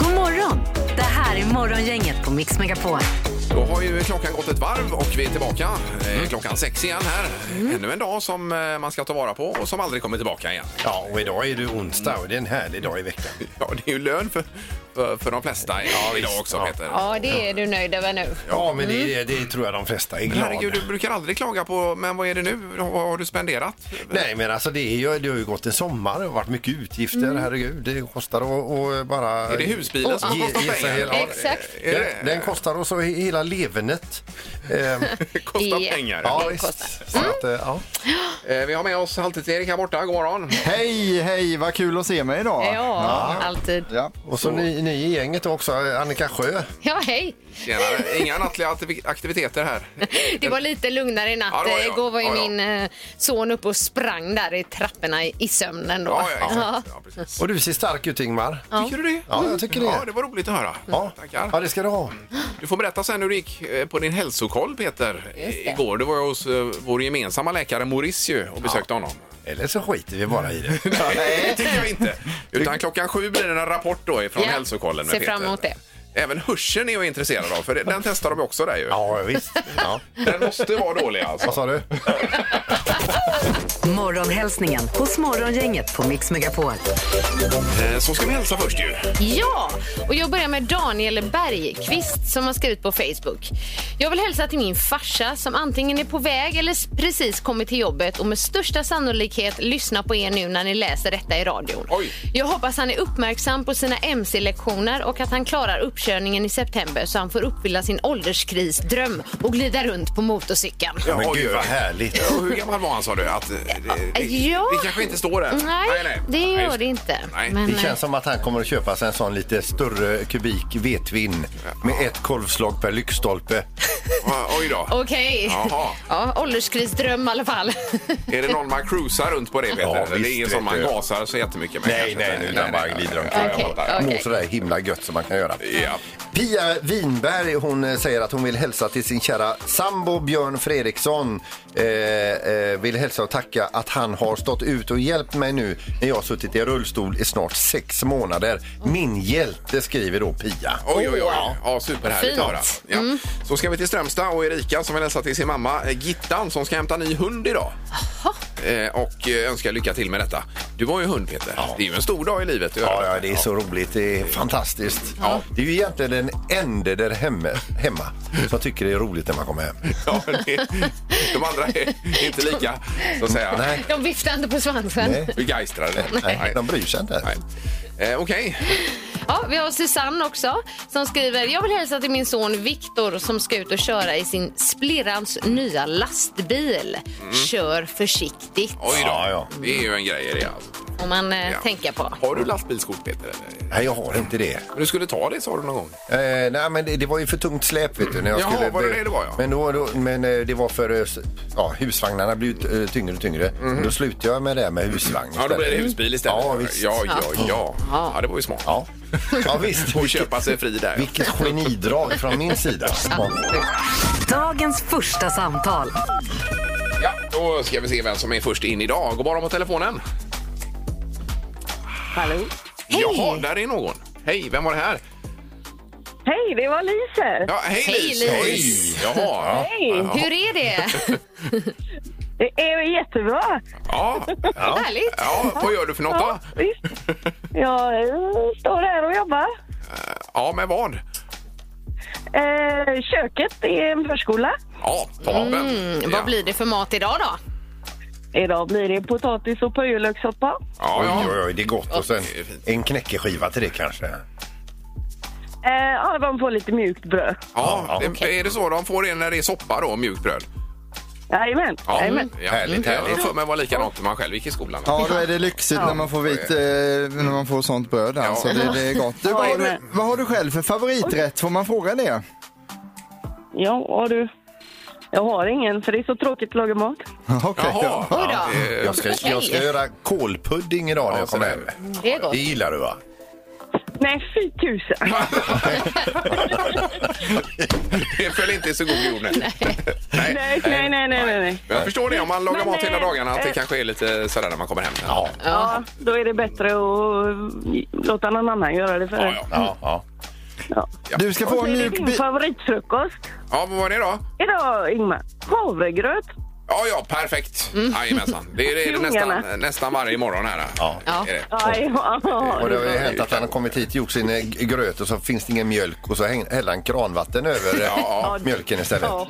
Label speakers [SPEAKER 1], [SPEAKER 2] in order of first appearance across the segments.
[SPEAKER 1] God morgon! Det här är Morgongänget på Mix Megapol.
[SPEAKER 2] Då har ju klockan gått ett varv och vi är tillbaka eh,
[SPEAKER 3] Mm.
[SPEAKER 2] klockan sex igen här. Ännu en dag som eh, man ska ta vara på och som aldrig kommer tillbaka igen.
[SPEAKER 3] Ja, och idag är det onsdag och det är en härlig dag i veckan.
[SPEAKER 2] Ja, det är ju lön för, för, för de flesta idag också,
[SPEAKER 3] ja.
[SPEAKER 2] Peter.
[SPEAKER 4] Ja, det är du nöjd över nu.
[SPEAKER 3] Ja, men det,
[SPEAKER 2] Mm.
[SPEAKER 3] det tror jag de flesta är glada.
[SPEAKER 2] Herregud, du brukar aldrig klaga på, men vad är det nu? Vad har du spenderat?
[SPEAKER 3] Nej, men alltså det, är ju, det har ju gått en sommar och varit mycket utgifter, herregud. Det kostar att att bara...
[SPEAKER 2] Mm. Är det husbilen som
[SPEAKER 3] Ge-
[SPEAKER 2] kostar
[SPEAKER 3] ge sig
[SPEAKER 2] pengar?
[SPEAKER 3] hela-
[SPEAKER 4] Exakt.
[SPEAKER 2] Är
[SPEAKER 3] Den,
[SPEAKER 2] det-
[SPEAKER 3] den kostar oss och he- hela levernet. Ehm,
[SPEAKER 2] Kostar Mm.
[SPEAKER 4] Ja.
[SPEAKER 2] pengar.
[SPEAKER 3] ja,
[SPEAKER 4] Den
[SPEAKER 3] visst.
[SPEAKER 4] kostar.
[SPEAKER 3] Så att, eh, ja.
[SPEAKER 2] Eh, Vi har med oss Halvtids-Erik här borta. God morgon.
[SPEAKER 5] Hej, hej, vad kul att se mig idag.
[SPEAKER 4] Ja, alltid.
[SPEAKER 5] Ja.
[SPEAKER 3] Och så ni, ni i gänget också, Annika Sjö.
[SPEAKER 4] Ja, hej.
[SPEAKER 2] Tjenare. Inga nattliga aktiv- aktiviteter här.
[SPEAKER 4] Det var lite lugnare i natt.
[SPEAKER 2] Ja, det var det, ja.
[SPEAKER 4] Igår var ju
[SPEAKER 2] Ja, ja.
[SPEAKER 4] min eh, son uppe och sprang där i trapporna i, i sömnen då.
[SPEAKER 2] Ja, ja, exakt. Ja, precis.
[SPEAKER 3] Och du ser stark ut Ingmar.
[SPEAKER 2] Tycker du det?
[SPEAKER 3] Ja, jag tycker det.
[SPEAKER 2] Ja, det var roligt att höra.
[SPEAKER 3] Ja,
[SPEAKER 2] Tackar.
[SPEAKER 3] ja det ska du ha.
[SPEAKER 2] Du får berätta sen hur det gick eh, på din hälsokoll Peter. Igår, du var ju hos eh, vår gemensamma läkare Maurice ju och besökte honom.
[SPEAKER 3] Eller så skiter vi bara i det.
[SPEAKER 2] Nej, det tycker jag inte. Utan klockan sju blir det en rapport då ifrån
[SPEAKER 4] Ja,
[SPEAKER 2] hälsokollen med
[SPEAKER 4] ser
[SPEAKER 2] Peter.
[SPEAKER 4] fram emot det.
[SPEAKER 2] Även hörseln är jag intresserad av, för det- den testar de ju också där ju.
[SPEAKER 3] Ja, visst. Ja.
[SPEAKER 2] Den måste vara dålig alltså.
[SPEAKER 3] Vad sa du?
[SPEAKER 1] Morgonhälsningen hos Morgongänget på Mix Megapol.
[SPEAKER 2] Eh, Så ska vi hälsa först ju.
[SPEAKER 4] Ja, och jag börjar med Daniel Bergqvist som har skrivit på Facebook. Jag vill hälsa till min farsa som antingen är på väg eller s- precis kommit till jobbet och med största sannolikhet lyssnar på er nu när ni läser detta i radion.
[SPEAKER 2] Oj.
[SPEAKER 4] Jag hoppas han är uppmärksam på sina MC-lektioner och att han klarar uppkörningen i september så han får uppfylla sin ålderskrisdröm och glida runt på motorcykeln.
[SPEAKER 2] Ja,
[SPEAKER 3] Men
[SPEAKER 2] oj,
[SPEAKER 3] gud vad
[SPEAKER 2] va.
[SPEAKER 3] härligt.
[SPEAKER 2] Och hur gammal var han sa du? Att, eh, det, det,
[SPEAKER 4] Ja.
[SPEAKER 2] det kanske inte står där.
[SPEAKER 4] Nej, det
[SPEAKER 2] Nej,
[SPEAKER 4] gör
[SPEAKER 2] just-
[SPEAKER 4] det inte.
[SPEAKER 2] Nej.
[SPEAKER 4] Men, eh,
[SPEAKER 3] Det känns som att han kommer att köpa sig en sån lite större kubik vetvin med ett kolvslag per lyktstolpe.
[SPEAKER 2] Ah, Oj då.
[SPEAKER 4] eh, Okej.
[SPEAKER 2] Jaha.
[SPEAKER 4] Ja, ålderskrisdröm i alla fall.
[SPEAKER 2] Är det någon man cruisar runt på det Peter?
[SPEAKER 3] Ja,
[SPEAKER 2] Eller det är
[SPEAKER 3] visst,
[SPEAKER 2] ingen som
[SPEAKER 3] vet
[SPEAKER 2] man
[SPEAKER 3] du.
[SPEAKER 2] gasar så jättemycket med? kanske?
[SPEAKER 3] utan bara glider omkring.
[SPEAKER 2] Ja, jag
[SPEAKER 4] Okej,
[SPEAKER 2] fattar.
[SPEAKER 4] okej.
[SPEAKER 3] Mår sådär himla gött som man kan göra.
[SPEAKER 2] Ja.
[SPEAKER 3] Pia Winberg hon eh, säger att hon vill hälsa till sin kära sambo Björn Fredriksson. Eh, eh, vill hälsa och tacka att han har stått ut och hjälpt mig nu när jag har suttit i rullstol i snart sex månader. Min hjälte skriver då Pia.
[SPEAKER 2] Oj, oj, oj. Ja, superhärligt att
[SPEAKER 4] Oh, Fint. Mm.
[SPEAKER 2] höra. Ja. Så ska vi till Strömstad och Erika som vill hälsa till sin mamma eh, Gittan som ska hämta ny hund idag. Eh, och eh, önskar lycka till med detta. Du var ju hund Peter. Det är ju en stor dag i livet. att
[SPEAKER 3] Ja,
[SPEAKER 2] göra
[SPEAKER 3] ja,
[SPEAKER 2] detta.
[SPEAKER 3] det är så roligt. Det är fantastiskt.
[SPEAKER 2] Ja.
[SPEAKER 3] Det är ju egentligen den enda där hemma, hemma som tycker det är roligt när man kommer hem.
[SPEAKER 2] Ja, det, de andra är inte lika, så att säga,
[SPEAKER 3] Nej,
[SPEAKER 4] De viftar inte på svansen.
[SPEAKER 3] Nej.
[SPEAKER 2] begeistrade.
[SPEAKER 3] nej, de bryr sig inte.
[SPEAKER 2] Nej. Eh, Okej.
[SPEAKER 4] Ja, vi har Susanne också som skriver Jag vill hälsa till min son Viktor som ska ut och köra i sin splirrans nya lastbil. Kör försiktigt
[SPEAKER 2] Mm. Oj då.
[SPEAKER 3] Ja, ja.
[SPEAKER 2] Det är ju en grej det. Alltså.
[SPEAKER 4] om man eh,
[SPEAKER 2] Ja.
[SPEAKER 4] tänker på.
[SPEAKER 2] Har du lastbilskort Peter? eller?
[SPEAKER 3] Nej, jag har inte det.
[SPEAKER 2] Men Du skulle ta det sa du någon gång.
[SPEAKER 3] Eh, nej, men det, det var ju för tungt släp. Vet du, när jag
[SPEAKER 2] Jaha,
[SPEAKER 3] skulle,
[SPEAKER 2] var det det det var, ja.
[SPEAKER 3] Men, då, då, men eh, det var för... eh, s- Ja, husvagnarna blev ju t- eh, tyngre och tyngre. Då slutade jag med det här med husvagn
[SPEAKER 2] Mhm. Ja, då blir det
[SPEAKER 3] istället.
[SPEAKER 2] husbil istället.
[SPEAKER 3] Ja, visst.
[SPEAKER 2] ja, ja, ja. ja det var ju smart.
[SPEAKER 3] Ja. ja, visst.
[SPEAKER 2] Och köpa sig fri där.
[SPEAKER 3] Vilket genidrag från min sida. Ja.
[SPEAKER 1] Dagens första samtal.
[SPEAKER 2] Ja, då ska vi se vem som är först in idag. God morgon på telefonen.
[SPEAKER 6] Hallå?
[SPEAKER 2] Hej. Jaha, där är någon. Hej, vem var det här?
[SPEAKER 6] Hej, det var Lise.
[SPEAKER 2] Ja, hej,
[SPEAKER 4] Hej,
[SPEAKER 2] Lis.
[SPEAKER 4] Lis.
[SPEAKER 2] Hej. Jaha.
[SPEAKER 6] Hej.
[SPEAKER 4] Hur är det?
[SPEAKER 6] Det är jättebra.
[SPEAKER 2] Ja. ja.
[SPEAKER 4] Härligt.
[SPEAKER 2] Ja, vad gör du för något då?
[SPEAKER 6] Visst. Jag eh, står här och jobbar.
[SPEAKER 2] Ja, med vad?
[SPEAKER 6] Eh, köket är en förskola.
[SPEAKER 2] Ja, toppen.
[SPEAKER 4] Mm,
[SPEAKER 2] ja.
[SPEAKER 4] vad blir det för mat idag då?
[SPEAKER 6] Idag blir det potatis och purjolökssoppa.
[SPEAKER 2] Ja,
[SPEAKER 3] Oj,
[SPEAKER 2] ja.
[SPEAKER 3] oj, oj, det är gott. Och sen
[SPEAKER 2] det är fint.
[SPEAKER 3] en knäckeskiva till det kanske.
[SPEAKER 6] Eh, ja, de får lite mjukt bröd.
[SPEAKER 2] ja.
[SPEAKER 3] Ja,
[SPEAKER 2] Är det så de får det när det är soppa då, mjukt bröd?
[SPEAKER 6] Jajamän.
[SPEAKER 2] Ja,
[SPEAKER 6] Jajamän.
[SPEAKER 2] ja, härligt. Jag har för mig var likadant när man själv gick i skolan.
[SPEAKER 5] Ja, då är det lyxigt när man får, vit, eh, när man får sånt bröd. Alltså, det, det är gott. Du, vad, har du, vad har du själv för favoriträtt? Får man fråga det?
[SPEAKER 6] Ja, och du. Jag har ingen, för det är så tråkigt att laga mat.
[SPEAKER 5] Okej.
[SPEAKER 2] Jaha,
[SPEAKER 4] Oj då.
[SPEAKER 2] ja, det-
[SPEAKER 3] Jag ska, jag ska göra kolpudding idag när jag kommer hem.
[SPEAKER 4] Det är gott.
[SPEAKER 3] Det gillar du va?
[SPEAKER 6] Nej, fy tusen.
[SPEAKER 2] det föll inte i så god jord. nej.
[SPEAKER 6] Nej, nej, nej, nej, nej. nej.
[SPEAKER 2] Men Jag förstår det, om man lagar
[SPEAKER 6] Men,
[SPEAKER 2] mat hela
[SPEAKER 6] eh,
[SPEAKER 2] dagarna, att det
[SPEAKER 6] eh,
[SPEAKER 2] kanske är lite sådär när man kommer hem.
[SPEAKER 3] Ja.
[SPEAKER 6] Ja, då är det bättre att eh, låta någon annan göra det för dig.
[SPEAKER 2] ja, ja.
[SPEAKER 3] Ja, ja.
[SPEAKER 5] Du ska få
[SPEAKER 6] Och
[SPEAKER 5] en
[SPEAKER 6] så är det
[SPEAKER 5] mjuk
[SPEAKER 6] din
[SPEAKER 5] bit.
[SPEAKER 6] favoritfrukost
[SPEAKER 2] ja vad var det då?
[SPEAKER 6] idag, Ingmar. Havregröt.
[SPEAKER 2] Ja, ja, perfekt. Jajamensan. Det är det är nästan,
[SPEAKER 6] Ungarna.
[SPEAKER 2] nästan varje morgon här.
[SPEAKER 3] Ja.
[SPEAKER 2] Är det.
[SPEAKER 6] Aj, ja,
[SPEAKER 3] Och det har ju
[SPEAKER 6] ja.
[SPEAKER 3] hänt att han har kommit hit, gjort sin eh, gröt och så finns det ingen mjölk och så häng- häller han kranvatten över eh,
[SPEAKER 2] Ja.
[SPEAKER 3] mjölken istället.
[SPEAKER 6] Ja.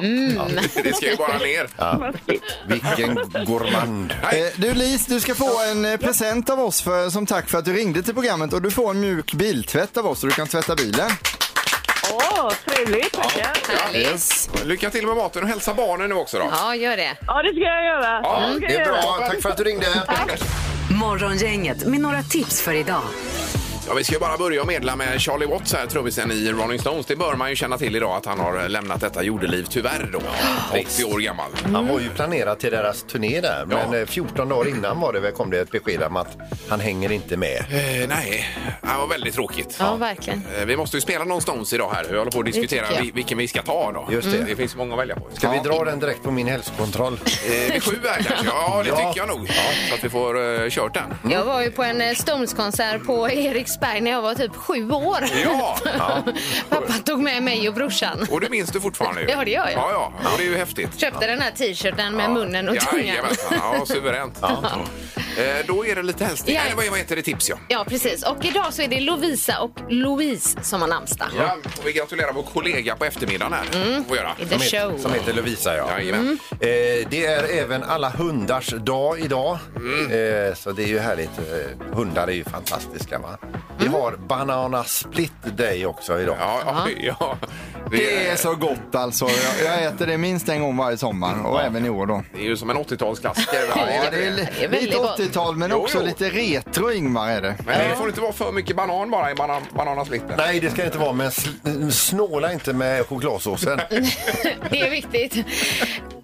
[SPEAKER 2] Det ska ju bara ner.
[SPEAKER 6] Maskigt.
[SPEAKER 3] Vilken gourmand!
[SPEAKER 5] Eh, Du Lis, du ska få en eh, present av oss för, som tack för att du ringde till programmet och du får en mjuk biltvätt av oss så du kan tvätta bilen.
[SPEAKER 6] Åh, trevligt. Tackar.
[SPEAKER 4] Härligt.
[SPEAKER 2] Lycka till med maten och hälsa barnen nu också då.
[SPEAKER 4] Ja, gör det.
[SPEAKER 6] Ja, det ska jag göra.
[SPEAKER 2] Ja,
[SPEAKER 6] ska
[SPEAKER 3] Det
[SPEAKER 6] jag
[SPEAKER 3] är
[SPEAKER 6] göra.
[SPEAKER 3] bra, tack för att du ringde!
[SPEAKER 1] Morgongänget med några tips för idag.
[SPEAKER 2] Ja, vi ska ju bara börja och medla med Charlie Watts här, trummisen i Rolling Stones. Det bör man ju känna till idag att han har lämnat detta jordeliv, tyvärr då. 30 år gammal.
[SPEAKER 3] Han var ju planerad till deras turné där, men eh, 14 dagar innan var det väl kom det ett besked om att han hänger inte med.
[SPEAKER 2] Eh, nej, det var väldigt tråkigt.
[SPEAKER 4] Ja, verkligen.
[SPEAKER 2] Eh, Vi måste ju spela någon Stones idag här. Vi håller på att diskutera
[SPEAKER 4] tycker jag.
[SPEAKER 2] vil- vilken vi ska ta då.
[SPEAKER 3] Just det.
[SPEAKER 2] Det finns många att välja på.
[SPEAKER 3] Ska vi dra den direkt på min hälsokontroll?
[SPEAKER 2] Eh, vid sju här kanske? Ja, det
[SPEAKER 3] Ja.
[SPEAKER 2] tycker jag nog. Så att vi får uh, kört den.
[SPEAKER 4] Jag var ju på en eh, Stones-konsert på Eriksberg när jag var typ sju år.
[SPEAKER 2] Ja.
[SPEAKER 4] Pappa tog med mig och brorsan.
[SPEAKER 2] Och det minns du fortfarande ju.
[SPEAKER 4] Ja, det gör jag.
[SPEAKER 2] Ja, ja. Och det är ju häftigt.
[SPEAKER 4] Köpte den här t-shirten med munnen och tungan.
[SPEAKER 2] Jajamensan. Ja, suveränt. Eh, då är det lite hälsning.
[SPEAKER 4] Ja.
[SPEAKER 2] Eller vad- vad heter det? Tips, ja.
[SPEAKER 4] Ja, precis. Och idag så är det Lovisa och Louise som har namnsdag.
[SPEAKER 2] ja. Och vi gratulerar vår kollega på eftermiddagen här.
[SPEAKER 4] Mm.
[SPEAKER 2] Får vi göra.
[SPEAKER 4] I the show.
[SPEAKER 3] Som heter Lovisa, ja.
[SPEAKER 2] Jajamän.
[SPEAKER 3] Eh, det är även alla hundars dag idag.
[SPEAKER 2] Mm.
[SPEAKER 3] Eh, så det är ju härligt. Eh, hundar är ju fantastiska. Va? Vi har Banana Split Day också idag.
[SPEAKER 2] Mm. Ja, ja, ja.
[SPEAKER 5] Det är så gott alltså. Jag, jag äter det minst en gång varje sommar och även i år då.
[SPEAKER 2] det är ju som en 80-talsklassiker.
[SPEAKER 5] Ja, det är
[SPEAKER 4] det är
[SPEAKER 5] li-
[SPEAKER 4] väldigt
[SPEAKER 5] lite
[SPEAKER 4] gott.
[SPEAKER 5] 80-tal men
[SPEAKER 2] Jo,
[SPEAKER 5] också
[SPEAKER 2] jo.
[SPEAKER 5] lite retro Ingmar är det.
[SPEAKER 2] Men det får inte vara för mycket banan bara i banan, bananasplitten.
[SPEAKER 3] Nej, det ska det inte vara, men sl- snåla inte med chokladsåsen.
[SPEAKER 4] Det är viktigt.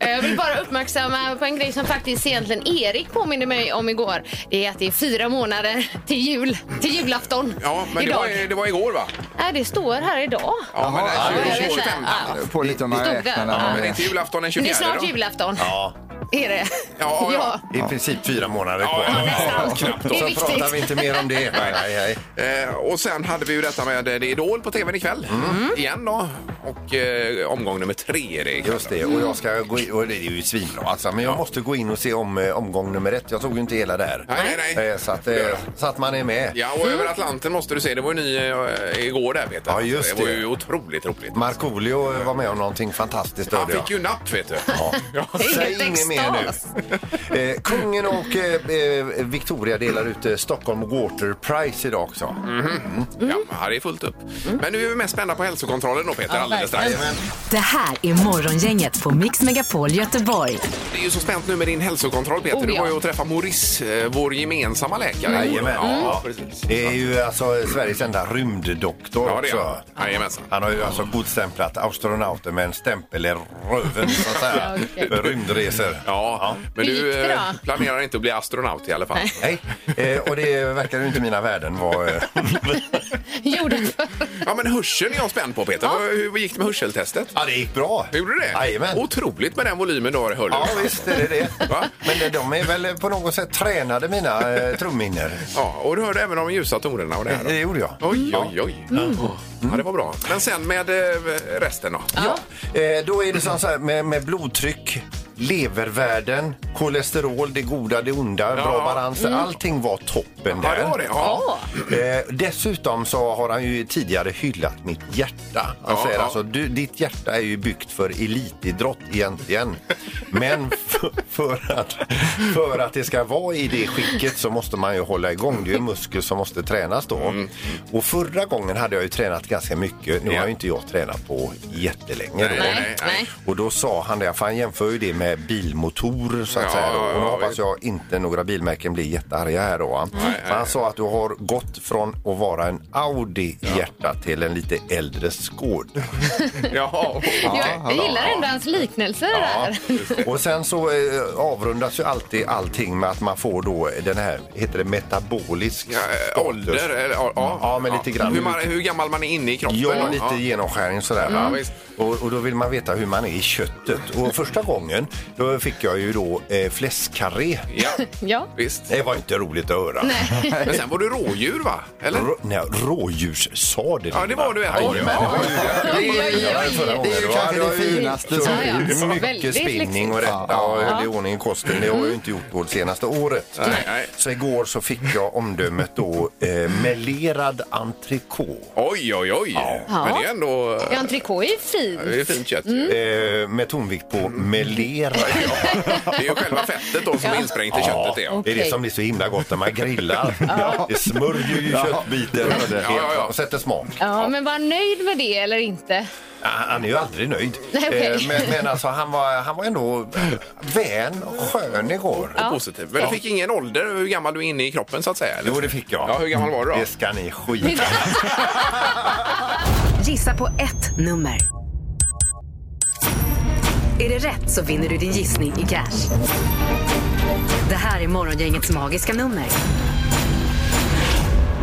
[SPEAKER 4] Eh, Jag vill bara uppmärksamma på en grej som faktiskt egentligen Erik påminner mig om igår. Det är att det är fyra månader till jul, till julafton
[SPEAKER 2] Ja, men det
[SPEAKER 4] idag.
[SPEAKER 2] var, det var igår va?
[SPEAKER 4] Nej, det står här idag.
[SPEAKER 2] Ja, men
[SPEAKER 5] Jaha,
[SPEAKER 2] den
[SPEAKER 4] ja, jag
[SPEAKER 2] 20,
[SPEAKER 4] vet inte.
[SPEAKER 2] 25.
[SPEAKER 4] Ja.
[SPEAKER 5] Eh, På lite om jag
[SPEAKER 4] Stod
[SPEAKER 5] räknar
[SPEAKER 4] där.
[SPEAKER 5] när
[SPEAKER 2] Ja,
[SPEAKER 5] man
[SPEAKER 2] men det är
[SPEAKER 5] är-
[SPEAKER 2] inte julafton den
[SPEAKER 4] Men
[SPEAKER 2] 24
[SPEAKER 4] det är snart
[SPEAKER 2] då?
[SPEAKER 4] julafton.
[SPEAKER 3] Ja,
[SPEAKER 4] Är det?
[SPEAKER 2] Ja, ja.
[SPEAKER 3] I princip fyra månader
[SPEAKER 2] Ja,
[SPEAKER 3] kvar.
[SPEAKER 2] ja, ja, ja, knappt.
[SPEAKER 4] Det är
[SPEAKER 3] Så
[SPEAKER 4] viktigt.
[SPEAKER 3] pratar vi inte mer om det. Nej, nej, nej.
[SPEAKER 2] Eh, och sen hade vi ju detta med eh, det är Idol på tvn ikväll. Igen då. Och eh, omgång nummer tre är det ikväll.
[SPEAKER 3] Just det, och jag ska gå in, och det är ju svinbra alltså, men jag måste gå in och se om eh, omgång nummer ett. Jag tog ju inte hela där.
[SPEAKER 2] Nej, nej, nej.
[SPEAKER 3] Eh, Så att, eh, så att man är med.
[SPEAKER 2] Ja, och över Atlanten måste du se. Det var ju ny eh, igår där vet jag.
[SPEAKER 3] Ja, just
[SPEAKER 2] det var
[SPEAKER 3] det.
[SPEAKER 2] ju otroligt roligt.
[SPEAKER 3] Markoolio eh, var med om någonting fantastiskt
[SPEAKER 2] Han
[SPEAKER 3] hörde jag.
[SPEAKER 2] fick ju napp vet du. Ja.
[SPEAKER 3] Säg
[SPEAKER 4] Inget extas.
[SPEAKER 3] inget mer nu. Eh, kungen och eh, eh, Victoria delar ut eh, Stockholm Water Prize idag också.
[SPEAKER 2] Mhm. Ja, det är fullt upp. Men nu är vi mest spända på hälsokontrollen då Peter alldeles strax.
[SPEAKER 1] Det här är Morgongänget på Mix Megapol Göteborg.
[SPEAKER 2] Det är ju så spänt nu med din hälsokontroll Peter.
[SPEAKER 4] Oh,
[SPEAKER 2] Du var ju
[SPEAKER 4] ja.
[SPEAKER 2] och träffade Maurice, eh, vår gemensamma läkare.
[SPEAKER 3] Jajamän.
[SPEAKER 2] Ja, precis.
[SPEAKER 3] Det är ju alltså Sveriges enda rymddoktor
[SPEAKER 2] Ja, det är
[SPEAKER 3] också.
[SPEAKER 2] han. Jajamensan.
[SPEAKER 3] Han har ju alltså godstämplat astronauter med en stämpel i röven så att säga.
[SPEAKER 4] okej.
[SPEAKER 3] För rymdresor.
[SPEAKER 2] Ja, men
[SPEAKER 4] Hur gick
[SPEAKER 2] du
[SPEAKER 4] det
[SPEAKER 2] eh,
[SPEAKER 4] då?
[SPEAKER 2] planerar inte att bli astronaut i alla fall.
[SPEAKER 3] Nej, eh, och det verkar ju inte mina värden vara... eh,
[SPEAKER 4] Gjorde för.
[SPEAKER 2] Ja, men hörseln är jag spänd på Peter. Vad- Hur gick det med hörseltestet?
[SPEAKER 3] Ja, det gick bra.
[SPEAKER 2] Gjorde du det?
[SPEAKER 3] Jajamän.
[SPEAKER 2] Otroligt med den volymen du har i hörlurarna.
[SPEAKER 3] Ja, visst är det det.
[SPEAKER 2] Va?
[SPEAKER 3] Men det- de är väl på något sätt tränade, mina eh, trumhinnor.
[SPEAKER 2] Ja, och du hörde även de ljusa tonerna och det här. då.
[SPEAKER 3] Det gjorde jag.
[SPEAKER 2] Oj, oj, oj.
[SPEAKER 4] Mm.
[SPEAKER 2] Ja, det var bra. Men sen med eh, resten då?
[SPEAKER 3] Ja. Eh, då är det så här med, med blodtryck, levervärden, kolesterol, det goda, det onda, bra balans. Allting var toppen
[SPEAKER 2] Mm. Ja,
[SPEAKER 3] där.
[SPEAKER 2] det var det. Ja.
[SPEAKER 3] Eh, dessutom så har han ju tidigare hyllat mitt hjärta. Han
[SPEAKER 2] Ja,
[SPEAKER 3] säger
[SPEAKER 2] ja.
[SPEAKER 3] alltså, du, ditt hjärta är ju byggt för elitidrott egentligen. Men för, att, för att det ska vara i det skicket så måste man ju hålla igång. Det är ju en muskel som måste tränas då. Och förra gången hade jag ju tränat ganska mycket. Nu
[SPEAKER 2] Mm. Ja.
[SPEAKER 3] har ju inte jag tränat på jättelänge. Då.
[SPEAKER 2] Nej, nej, nej.
[SPEAKER 4] nej.
[SPEAKER 3] Och då sa han det, för han jämför ju det med bilmotor så att
[SPEAKER 2] Ja,
[SPEAKER 3] säga. Då. Och nu
[SPEAKER 2] ja,
[SPEAKER 3] hoppas
[SPEAKER 2] visst.
[SPEAKER 3] jag inte några bilmärken blir jättearga här då. va?
[SPEAKER 2] Nej,
[SPEAKER 3] För han
[SPEAKER 2] nej.
[SPEAKER 3] sa att du har gått från att vara en Audi i hjärta till en lite äldre Skåd.
[SPEAKER 2] Jaha, okej.
[SPEAKER 4] Jag, jag gillar ändå hans liknelser där.
[SPEAKER 3] Och sen så eh, avrundas ju alltid allting med att man får då den här, heter det metabolisk
[SPEAKER 2] Ja, eh,
[SPEAKER 3] status?
[SPEAKER 2] ålder? Eller, ja,
[SPEAKER 3] Ja, men lite grann.
[SPEAKER 2] Hur, man, hur gammal man är inne i kroppen? Mm.
[SPEAKER 3] Ja, lite genomskärning sådär.
[SPEAKER 2] Ja,
[SPEAKER 3] va?
[SPEAKER 2] visst.
[SPEAKER 3] och, och då vill man veta hur man är i köttet. Och första gången då fick jag ju då eh, fläskkarré.
[SPEAKER 2] Ja,
[SPEAKER 4] Ja.
[SPEAKER 2] visst.
[SPEAKER 3] Det var inte roligt att höra.
[SPEAKER 2] Men sen var du rådjur, va? Eller?
[SPEAKER 3] Rå, nej, rådjurssadel.
[SPEAKER 2] Ja, det var du ett år.
[SPEAKER 3] Jajamän.
[SPEAKER 5] Det är ju kanske det finaste som
[SPEAKER 4] Ja, ja.
[SPEAKER 3] Mycket
[SPEAKER 4] Väldigt
[SPEAKER 3] spinning
[SPEAKER 4] liksom.
[SPEAKER 3] och detta och höll i ordning i kosten. Det har
[SPEAKER 5] Mm.
[SPEAKER 3] jag ju inte gjort på det senaste året.
[SPEAKER 2] Nej, nej.
[SPEAKER 3] Så igår så fick jag omdömet då eh, melerad entrecote.
[SPEAKER 2] Oj, oj, oj. Men det är ändå...
[SPEAKER 4] Ja, entrecote är ju fin.
[SPEAKER 2] Det är fint kött.
[SPEAKER 3] Eh, med tonvikt på melerad.
[SPEAKER 2] Det är ju själva fettet då som är insprängt i köttet. Det.
[SPEAKER 3] Det är det som blir så himla gott när man grillar. Det smörjer ju köttbiten
[SPEAKER 2] Ja, ja, ja.
[SPEAKER 3] och sätter smak.
[SPEAKER 4] Ja, men var nöjd med det eller inte?
[SPEAKER 3] Ja, Han är ju aldrig nöjd.
[SPEAKER 4] Nej, okej.
[SPEAKER 3] Eh, Men, men alltså, han, var, han var ändå vän och skön igår.
[SPEAKER 2] Ja. Positivt. Men du fick ingen ålder, hur gammal du är inne i kroppen så att säga? Eller?
[SPEAKER 3] Jo, det fick jag.
[SPEAKER 2] Ja, hur gammal var du då?
[SPEAKER 3] Det ska ni skita
[SPEAKER 1] Gissa på ett nummer. Är det rätt så vinner du din gissning i cash. Det här är Morgongängets magiska nummer.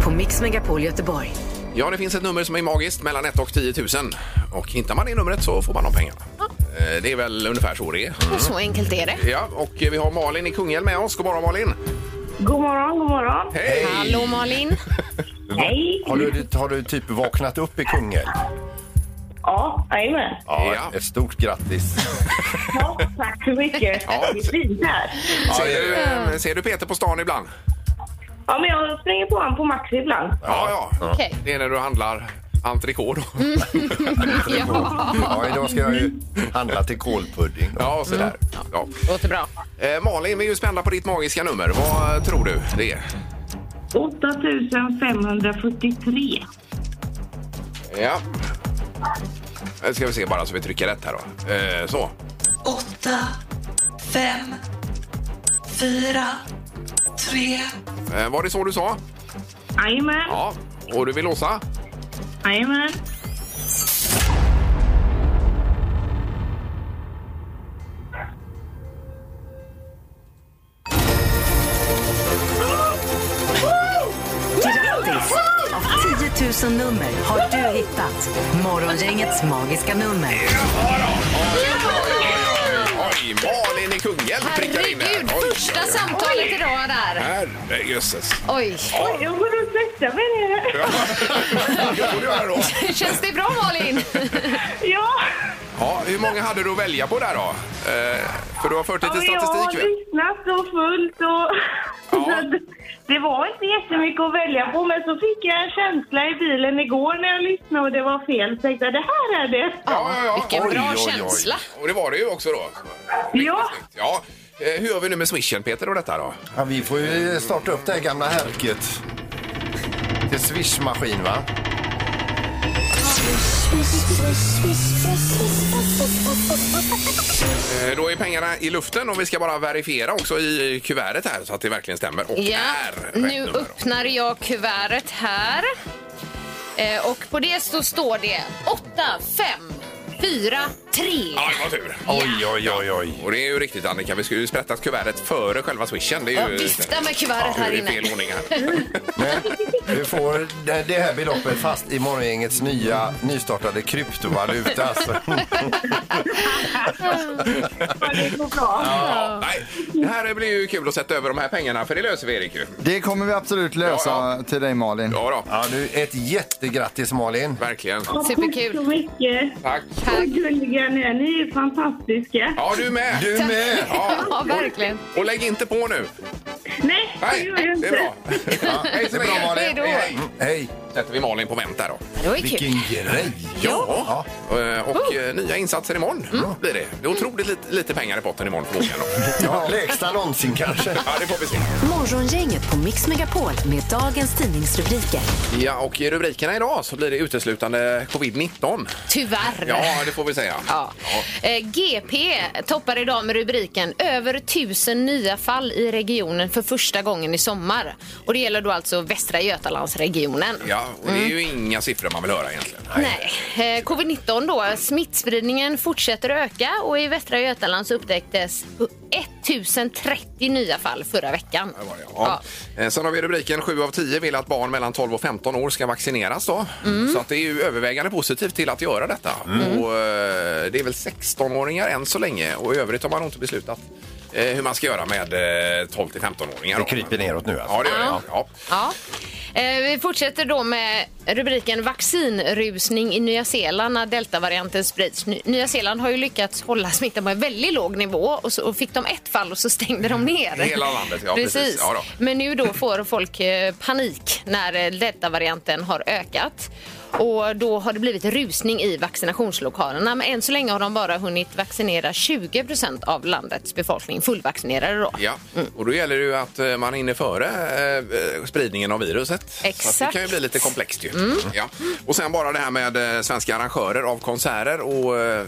[SPEAKER 1] På Mix Megapol Göteborg.
[SPEAKER 2] Ja, det finns ett nummer som är magiskt, mellan 1 och 10 000. Och hittar man det numret så får man de pengarna. Eh, Det är väl ungefär så det är.
[SPEAKER 4] Och så enkelt är det.
[SPEAKER 2] Ja, och eh, vi har Malin i Kungälv med oss. God morgon Malin!
[SPEAKER 6] God morgon, god morgon.
[SPEAKER 2] Hej!
[SPEAKER 4] Hallå Malin.
[SPEAKER 6] Hej.
[SPEAKER 3] Har du, har du typ vaknat upp i Kungälv?
[SPEAKER 6] Ja, jajamän.
[SPEAKER 2] Ja.
[SPEAKER 3] Ett stort grattis.
[SPEAKER 6] Ja, tack så mycket.
[SPEAKER 2] Ja.
[SPEAKER 6] Det är fint här.
[SPEAKER 2] Ser, du, eh, ser du Peter på stan ibland?
[SPEAKER 6] Ja, men jag springer på honom på Maxi ibland.
[SPEAKER 2] Ja, ja.
[SPEAKER 4] Okej.
[SPEAKER 2] Det är när du handlar entrecote då.
[SPEAKER 4] Ja,
[SPEAKER 3] Ja, idag ska jag ju handla till kålpudding. då.
[SPEAKER 2] Ja, sådär. Ja.
[SPEAKER 4] låter bra.
[SPEAKER 2] Eh, Malin, vi är ju spända på ditt magiska nummer. Vad eh, tror du det är?
[SPEAKER 6] 8543.
[SPEAKER 2] Ja. Nu ska vi se bara så vi trycker rätt här då. Eh, så.
[SPEAKER 7] åtta, fem, fyra, tre.
[SPEAKER 2] Eh, var det så du sa?
[SPEAKER 6] Jajamän,
[SPEAKER 2] Ja. Och du vill låsa?
[SPEAKER 6] jajamän.
[SPEAKER 1] Grattis! Av 10 000 nummer har du hittat Morgongängets magiska nummer.
[SPEAKER 2] Oj, Malin i Kungälv prickar in
[SPEAKER 4] Herregud, första samtalet idag där.
[SPEAKER 2] Herrejösses.
[SPEAKER 4] Oj,
[SPEAKER 6] Oj, jag går och svettas med det.
[SPEAKER 2] Ja, det får du göra då.
[SPEAKER 4] känns det bra Malin?
[SPEAKER 6] Ja,
[SPEAKER 2] Ja, hur många hade du att välja på där då? Eh, för du har fört
[SPEAKER 6] ja
[SPEAKER 2] lite
[SPEAKER 6] men jag har
[SPEAKER 2] statistik. vet-
[SPEAKER 6] lyssnat och fullt och... Så att Det var inte jättemycket att välja på, men så fick jag en känsla i bilen igår när jag lyssnade och det var fel. Så tänkte jag, det här är det.
[SPEAKER 2] Ja, ja, ja.
[SPEAKER 4] Vilken
[SPEAKER 2] Oj,
[SPEAKER 4] bra
[SPEAKER 2] oj, oj.
[SPEAKER 4] känsla.
[SPEAKER 2] Och det var det ju också då.
[SPEAKER 6] Ja,
[SPEAKER 2] Ja. Eh, hur gör vi nu med swishen Peter och detta då?
[SPEAKER 3] Ja, vi får ju starta upp det här gamla härket. Till swishmaskin, va?
[SPEAKER 2] Eh, Då är pengarna i luften och vi ska bara verifiera också i kuvertet här så att det verkligen stämmer. Och
[SPEAKER 4] Ja,
[SPEAKER 2] är rätt
[SPEAKER 4] nu
[SPEAKER 2] nummer.
[SPEAKER 4] öppnar jag kuvertet här. Eh, Och på det så står det 8, 5, 4, 3.
[SPEAKER 2] Ja, det var tur.
[SPEAKER 3] Oj, oj, oj, oj.
[SPEAKER 2] Och det är ju riktigt Annika, vi skulle ju sprättat kuvertet före själva swishen. Det är
[SPEAKER 4] Ja,
[SPEAKER 2] ju...
[SPEAKER 4] vifta med kuvertet
[SPEAKER 2] Ja,
[SPEAKER 4] här
[SPEAKER 2] nu är
[SPEAKER 4] inne.
[SPEAKER 2] det fel ordning här.
[SPEAKER 3] Men du får det det här beloppet fast i morgongängets nya nystartade kryptovaluta. Alltså.
[SPEAKER 6] det går bra.
[SPEAKER 2] Ja, nej. Det här blir ju kul att sätta över de här pengarna för det löser vi Erik ju.
[SPEAKER 5] Det kommer vi absolut lösa
[SPEAKER 2] Ja,
[SPEAKER 5] till dig Malin.
[SPEAKER 2] Ja då,
[SPEAKER 3] Ja, du, ett jättegrattis, Malin.
[SPEAKER 2] verkligen.
[SPEAKER 4] Superkul.
[SPEAKER 6] Tack så mycket.
[SPEAKER 2] Tack.
[SPEAKER 6] Vad gulliga ni är. Ni är fantastiska.
[SPEAKER 2] Ja, du med.
[SPEAKER 3] Du med!
[SPEAKER 4] Ja, verkligen.
[SPEAKER 2] Och lägg inte på nu.
[SPEAKER 6] Nej, det
[SPEAKER 2] Nej,
[SPEAKER 6] gör jag
[SPEAKER 2] det
[SPEAKER 6] inte.
[SPEAKER 2] är bra. Ja, hej så
[SPEAKER 3] Det är bra,
[SPEAKER 2] länge.
[SPEAKER 3] Malin.
[SPEAKER 4] Hej då.
[SPEAKER 2] Hej, hej.
[SPEAKER 3] Mm, Hej.
[SPEAKER 2] sätter vi Malin på vänt där då.
[SPEAKER 4] Det var ju kul.
[SPEAKER 3] Vilken grej!
[SPEAKER 2] Ja. Eh, Och
[SPEAKER 4] Oh.
[SPEAKER 2] eh, nya insatser imorgon
[SPEAKER 4] Mm.
[SPEAKER 2] blir det. Det är otroligt lite, lite pengar i potten imorgon förmodligen. då.
[SPEAKER 3] Ja, lägsta någonsin kanske.
[SPEAKER 2] Ja, det får vi se.
[SPEAKER 1] Morgongänget på Mix Megapol med dagens tidningsrubriker.
[SPEAKER 2] Ja, och i rubrikerna idag så blir det uteslutande covid-19.
[SPEAKER 4] Tyvärr.
[SPEAKER 2] Ja, det får vi säga.
[SPEAKER 4] Ja. Eh, GP toppar idag med rubriken Över tusen nya fall i regionen för första gången i sommar. Och det gäller då alltså Västra Götalandsregionen.
[SPEAKER 2] Ja, och det är
[SPEAKER 3] Mm.
[SPEAKER 2] ju inga siffror man vill höra egentligen.
[SPEAKER 4] Nej. Eh, Covid-19 då. Smittspridningen fortsätter öka och i Västra Götaland så upptäcktes 1030 nya fall förra veckan.
[SPEAKER 2] Det var det, Ja. Eh, Sen har vi rubriken 7 av 10 vill att barn mellan 12 och 15 år ska vaccineras. Då.
[SPEAKER 3] Mm.
[SPEAKER 2] Så att det är ju övervägande positivt till att göra detta. Och, eh, det är väl 16-åringar än så länge och i övrigt har man nog inte beslutat eh, hur man ska göra med eh, 12 till 15-åringar.
[SPEAKER 3] Det
[SPEAKER 2] då.
[SPEAKER 3] kryper neråt nu alltså.
[SPEAKER 2] Ja, det gör det. Ja.
[SPEAKER 4] Ja. Eh, Vi fortsätter då med rubriken vaccinrusning i Nya Zeeland när deltavarianten sprids. Ny- Nya Zeeland har ju lyckats hålla smittan på en väldigt låg nivå och så och fick de ett fall och så stängde de ner.
[SPEAKER 2] Hela landet, ja, precis. Ja då.
[SPEAKER 4] Men nu då får folk eh, panik när eh, deltavarianten har ökat. Och då har det blivit rusning i vaccinationslokalerna. Men än så länge har de bara hunnit vaccinera 20 av landets befolkning, fullvaccinerade då.
[SPEAKER 2] Ja, och då gäller det ju att eh, man är inne före eh, spridningen av viruset. Så att
[SPEAKER 4] Exakt. Mm.
[SPEAKER 2] det kan ju bli lite komplext ju. Ja. Och sen bara det här med eh, svenska arrangörer av konserter och eh,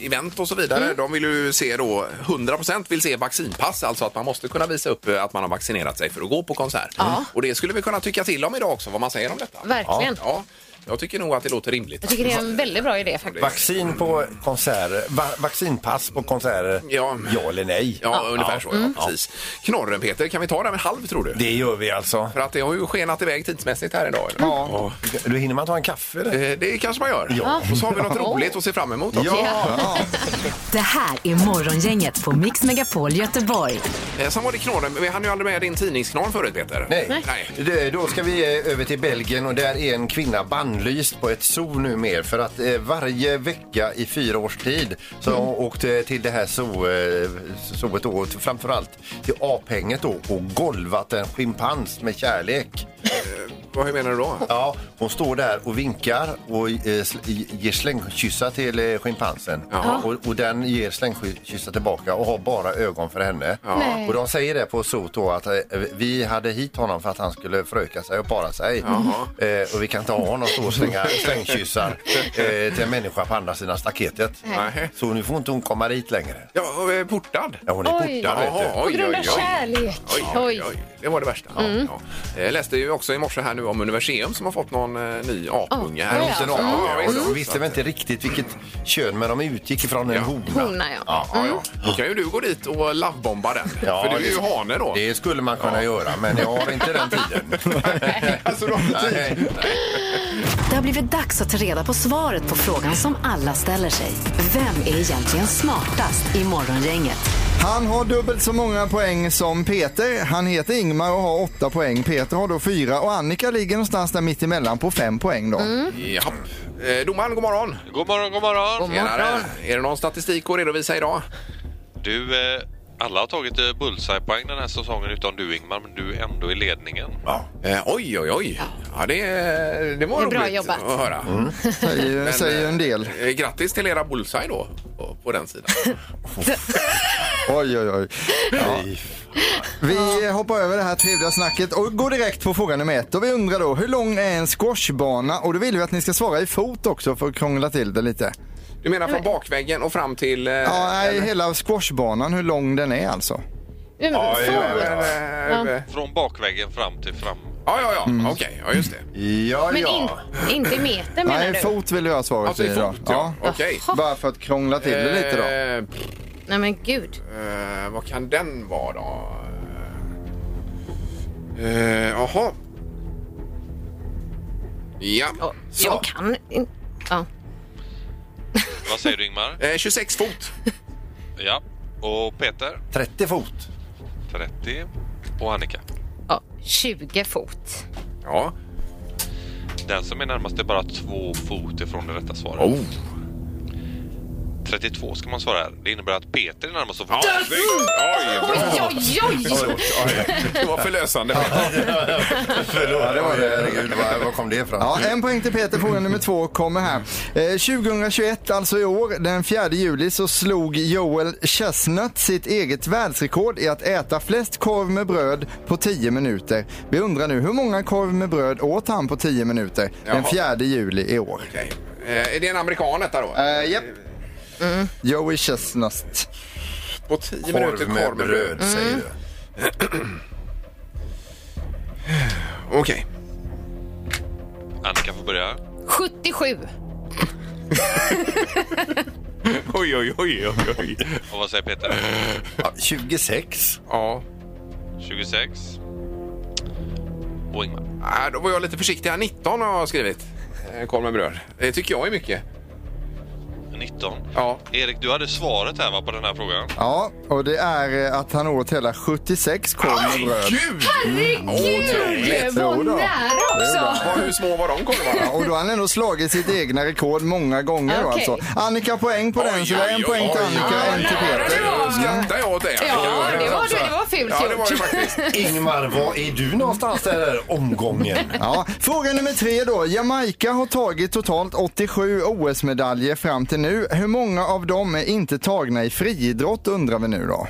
[SPEAKER 2] event och så vidare.
[SPEAKER 4] Mm.
[SPEAKER 2] De vill ju se då, 100% vill se vaccinpass, alltså att man måste kunna visa upp eh, att man har vaccinerat sig för att gå på konsert. Mm. Och det skulle vi kunna tycka till om idag också, vad man säger om detta.
[SPEAKER 4] Verkligen.
[SPEAKER 2] Ja, jag tycker nog att det låter rimligt.
[SPEAKER 4] Jag tycker det är en väldigt bra idé faktiskt.
[SPEAKER 3] Vaccin på konserter, va, vaccinpass på konserter,
[SPEAKER 2] Ja.
[SPEAKER 3] ja, eller nej?
[SPEAKER 2] Ja, ungefär så.
[SPEAKER 4] Mm.
[SPEAKER 2] Ja, precis. Knorren, Peter, kan vi ta den med halv tror du?
[SPEAKER 3] Det gör vi alltså.
[SPEAKER 2] För att det har ju skenat iväg tidsmässigt här idag. Eller?
[SPEAKER 5] Ja.
[SPEAKER 3] Då hinner man ta en kaffe? Eller?
[SPEAKER 2] Eh, Det kanske man gör.
[SPEAKER 3] Ja.
[SPEAKER 2] Och så har vi något roligt att se fram emot också.
[SPEAKER 3] ja.
[SPEAKER 1] Det här är Morgongänget på Mix Megapol Göteborg.
[SPEAKER 2] Eh, Sen var det knorren. Vi hann ju aldrig med din tidningsknorr förut, Peter.
[SPEAKER 3] Nej.
[SPEAKER 2] Nej.
[SPEAKER 3] Det- Då ska vi eh, över till Belgien och där är en kvinna bannlyst på ett zoo nu mer för att eh, varje vecka i fyra års tid så har hon åkt eh, till det här zoo, eh, zooet då, och framförallt till aphänget då och golvat en schimpans med kärlek.
[SPEAKER 2] Vad hur menar du då?
[SPEAKER 3] Ja, hon står där och vinkar och eh, sl- i- ger slängkyssar till eh, schimpansen.
[SPEAKER 2] Jaha.
[SPEAKER 3] Och, och den ger slängkyssar tillbaka och har bara ögon för henne.
[SPEAKER 4] Nej.
[SPEAKER 3] Och de säger det på SOT då att eh, vi hade hit honom för att han skulle föröka sig och para sig. Eh, och vi kan inte ha honom stå och slänga slängkyssar eh, till en människa på andra sidan staketet.
[SPEAKER 2] Nej.
[SPEAKER 3] Så nu får inte hon komma dit längre.
[SPEAKER 2] Ja, och, eh, portad.
[SPEAKER 3] Ja, hon är
[SPEAKER 4] Oj.
[SPEAKER 3] portad vet du.
[SPEAKER 4] På grund av kärlek.
[SPEAKER 2] Oj, oj, oj. Det var det värsta. Ja, ja. Jag läste ju också i morse här nu om Universium som har fått någon eh, ny apunge. här.
[SPEAKER 4] Ja,
[SPEAKER 2] Just en
[SPEAKER 4] ja.
[SPEAKER 2] apunge,
[SPEAKER 3] Ja,
[SPEAKER 2] ja, visst.
[SPEAKER 3] de visste väl inte riktigt vilket kön men de utgick ifrån en
[SPEAKER 2] Ja.
[SPEAKER 3] hona.
[SPEAKER 4] Hona, ja.
[SPEAKER 2] Ja, ja. Mm. Då kan ju du gå dit och lovebomba den.
[SPEAKER 3] Ja,
[SPEAKER 2] För du är
[SPEAKER 3] det-
[SPEAKER 2] ju hane då.
[SPEAKER 3] Det skulle man kunna göra, men jag har inte den tiden.
[SPEAKER 2] Alltså, du har inte tid.
[SPEAKER 3] Nej.
[SPEAKER 1] Det har blivit dags att ta reda på svaret på frågan som alla ställer sig. Vem är egentligen smartast i Morgongänget?
[SPEAKER 5] Han har dubbelt så många poäng som Peter. Han heter Ingmar och har åtta poäng. Peter har då fyra och Annika ligger någonstans där mittemellan på fem poäng då.
[SPEAKER 4] Mm.
[SPEAKER 2] Japp. Eh, domaren, god morgon.
[SPEAKER 8] God morgon, god morgon.
[SPEAKER 2] Tjenare. Är det någon statistik att redovisa idag?
[SPEAKER 8] Du, eh, alla har tagit eh, bullseye-poäng den här säsongen utom du Ingmar, men du är ändå i ledningen.
[SPEAKER 2] Ja. Eh, oj, oj, oj. Ja, det, det var
[SPEAKER 4] Det är bra
[SPEAKER 2] roligt
[SPEAKER 4] jobbat. Mm.
[SPEAKER 2] att höra.
[SPEAKER 5] Säger, ju- säger ju en del.
[SPEAKER 2] Eh, Grattis till era bullseye då, på, på den sidan.
[SPEAKER 5] Oj, oj, oj. Ja. Vi hoppar över det här trevliga snacket och går direkt på fråga nummer ett. Och vi undrar då, hur lång är en squashbana? Och då vill vi att ni ska svara i fot också för att krångla till det lite.
[SPEAKER 2] Du menar från bakväggen och fram till... eh,
[SPEAKER 5] Ja, nej, hela squashbanan, hur lång den är alltså.
[SPEAKER 4] Men,
[SPEAKER 2] eh,
[SPEAKER 4] fan.
[SPEAKER 2] eh, eh,
[SPEAKER 8] Från bakväggen fram till fram.
[SPEAKER 2] Ja, ja, ja.
[SPEAKER 5] Mm.
[SPEAKER 2] Okej, ja, just det.
[SPEAKER 3] Ja,
[SPEAKER 4] Men in,
[SPEAKER 3] ja.
[SPEAKER 4] inte i meter menar
[SPEAKER 5] Nej,
[SPEAKER 4] du?
[SPEAKER 5] fot vill jag ha svaret
[SPEAKER 2] Alltså
[SPEAKER 5] i
[SPEAKER 2] i
[SPEAKER 5] då.
[SPEAKER 2] fot, ja. Okej.
[SPEAKER 5] Bara för att krångla till det lite då.
[SPEAKER 2] Eh, pff,
[SPEAKER 4] Nej men gud.
[SPEAKER 2] eh, vad kan den vara då? Eh, Jaha. ja.
[SPEAKER 4] Ja, Jag kan in- ja.
[SPEAKER 8] Vad säger du Ingmar?
[SPEAKER 2] Eh, 26 fot.
[SPEAKER 8] Ja. Och Peter?
[SPEAKER 3] 30 fot.
[SPEAKER 8] 30. Och Annika?
[SPEAKER 4] ja, 20 fot.
[SPEAKER 2] Ja.
[SPEAKER 4] Mm.
[SPEAKER 8] Oh. Den som är närmast är bara två fot ifrån det rätta svaret.
[SPEAKER 2] Oh.
[SPEAKER 8] 32 ska man svara här. Det innebär att Peter är närmast att få...
[SPEAKER 4] Oj, oj, oj!
[SPEAKER 2] Det var förlösande.
[SPEAKER 3] Förlåt. Ja, det var det. Herregud, var, var kom det ifrån?
[SPEAKER 2] Eh.
[SPEAKER 5] Ja, en poäng till Peter. Fråga nummer två kommer här. Eh, 2021, alltså i år, den 4 juli så slog Joel Chestnut sitt eget världsrekord i att äta flest korv med bröd på 10 minuter. Vi undrar nu, hur många korv med bröd åt han på 10 minuter den
[SPEAKER 2] Jaha.
[SPEAKER 5] 4 juli i år?
[SPEAKER 2] Okej. Eh, Är det en amerikan detta då?
[SPEAKER 5] Eh, japp. Joey Chestnut.
[SPEAKER 2] På 10
[SPEAKER 3] Korv
[SPEAKER 2] minuter
[SPEAKER 3] med
[SPEAKER 2] korv med
[SPEAKER 3] bröd,
[SPEAKER 2] bröd.
[SPEAKER 4] Mm.
[SPEAKER 3] säger du.
[SPEAKER 2] Okej.
[SPEAKER 8] Annika får börja.
[SPEAKER 4] 77.
[SPEAKER 2] Oj, oj, oj, oj, oj.
[SPEAKER 8] Och vad säger Peter?
[SPEAKER 3] Ja, 26.
[SPEAKER 2] Ja.
[SPEAKER 8] 26. Och Ingmar.
[SPEAKER 2] Äh, då var jag lite försiktig här. 19 har jag skrivit. Eh, Korv med bröd. Det tycker jag är mycket.
[SPEAKER 8] 19.
[SPEAKER 2] Ja.
[SPEAKER 8] Erik, du hade svaret här va, på den här frågan.
[SPEAKER 5] Ja, och det är eh, att han åt hela 76 korv med bröd.
[SPEAKER 2] Gud!
[SPEAKER 4] Herregud, vad
[SPEAKER 5] Jo då.
[SPEAKER 4] nära också!
[SPEAKER 2] Vad- Hur små var de
[SPEAKER 5] Ja,
[SPEAKER 2] korvarna?
[SPEAKER 5] och då har han ändå slagit sitt egna rekord många gånger. då
[SPEAKER 4] Okej.
[SPEAKER 5] Alltså. Annika poäng på den, så det är en poäng till Annika, en till Peter.
[SPEAKER 2] Nu skrattar jag åt dig.
[SPEAKER 4] Ja, det var det. Det var fult
[SPEAKER 2] Ja, det var det
[SPEAKER 4] gjort.
[SPEAKER 2] faktiskt.
[SPEAKER 3] Ingmar, var är du någonstans där omgången?
[SPEAKER 5] Ja, fråga nummer tre då. Jamaica har tagit totalt 87 OS-medaljer fram till nu. Hur många av dem är inte tagna i friidrott undrar vi nu då?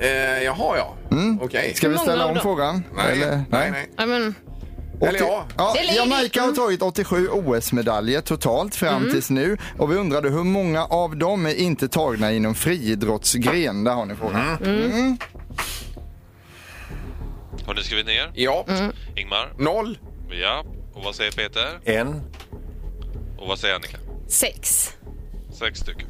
[SPEAKER 2] Eh, jaha, ja. Okej.
[SPEAKER 5] Ska vi
[SPEAKER 4] Många
[SPEAKER 5] ställa
[SPEAKER 4] av
[SPEAKER 5] om
[SPEAKER 4] dem.
[SPEAKER 5] frågan?
[SPEAKER 2] Nej,
[SPEAKER 5] Eller?
[SPEAKER 2] nej, nej.
[SPEAKER 4] Ja, men,
[SPEAKER 2] Eller ja.
[SPEAKER 5] Ja,
[SPEAKER 4] Det är ledigt.
[SPEAKER 5] Jamaica har
[SPEAKER 4] Mm.
[SPEAKER 5] tagit 87 OS-medaljer totalt fram tills nu. Och vi undrade hur många av dem är inte tagna inom friidrottsgren? Där har ni frågan.
[SPEAKER 2] Mm.
[SPEAKER 8] Har ni skrivit ner?
[SPEAKER 2] Ja.
[SPEAKER 4] Mm.
[SPEAKER 8] Ingmar?
[SPEAKER 2] Noll.
[SPEAKER 8] Ja. Och vad säger Peter?
[SPEAKER 3] En.
[SPEAKER 8] Och vad säger Annika?
[SPEAKER 4] sex.
[SPEAKER 8] Sex stycken.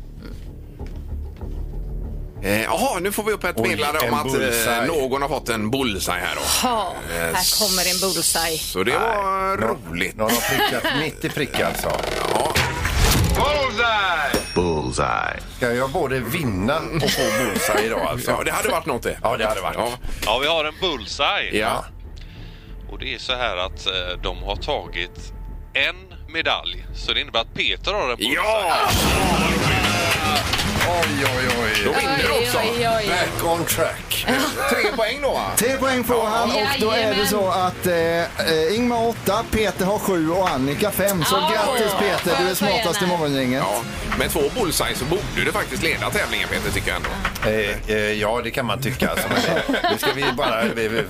[SPEAKER 2] Eh, Jaha, nu får vi upp ett
[SPEAKER 3] Oj,
[SPEAKER 2] meddelande
[SPEAKER 3] en
[SPEAKER 2] om att eh,
[SPEAKER 3] bullseye.
[SPEAKER 2] någon har fått en bullseye här då.
[SPEAKER 4] Ja, här kommer en bullseye.
[SPEAKER 2] Så det var roligt.
[SPEAKER 3] Någon har prickat mitt i prick alltså.
[SPEAKER 2] Ja.
[SPEAKER 9] Bullseye.
[SPEAKER 3] Ska jag både vinna och få bullseye idag
[SPEAKER 2] ja,
[SPEAKER 3] alltså?
[SPEAKER 2] det hade varit något det.
[SPEAKER 3] Ja, det hade varit.
[SPEAKER 2] Ja.
[SPEAKER 8] Ja, vi har en bullseye.
[SPEAKER 2] ja.
[SPEAKER 8] Och det är så här att eh, de har tagit en medalj. Så det innebär att Peter har en bullseye.
[SPEAKER 2] Ja!
[SPEAKER 3] Oj, oj,
[SPEAKER 2] Då
[SPEAKER 3] oj.
[SPEAKER 2] vinner du också.
[SPEAKER 4] Oj, oj, oj.
[SPEAKER 3] Back on track.
[SPEAKER 2] Tre poäng då va?
[SPEAKER 5] Tre poäng får han och då är det så att eh, eh, Ingmar 8, Peter har 7 och Annika 5. Så
[SPEAKER 4] Ja.
[SPEAKER 5] grattis Peter, du är smartast i morgongänget.
[SPEAKER 2] Ja. Med två bullseyes så borde du faktiskt leda tävlingen Peter, tycker jag ändå.
[SPEAKER 3] Eh, eh, ja, det kan man tycka. Alltså, men det, nu ska vi bara eh, eh,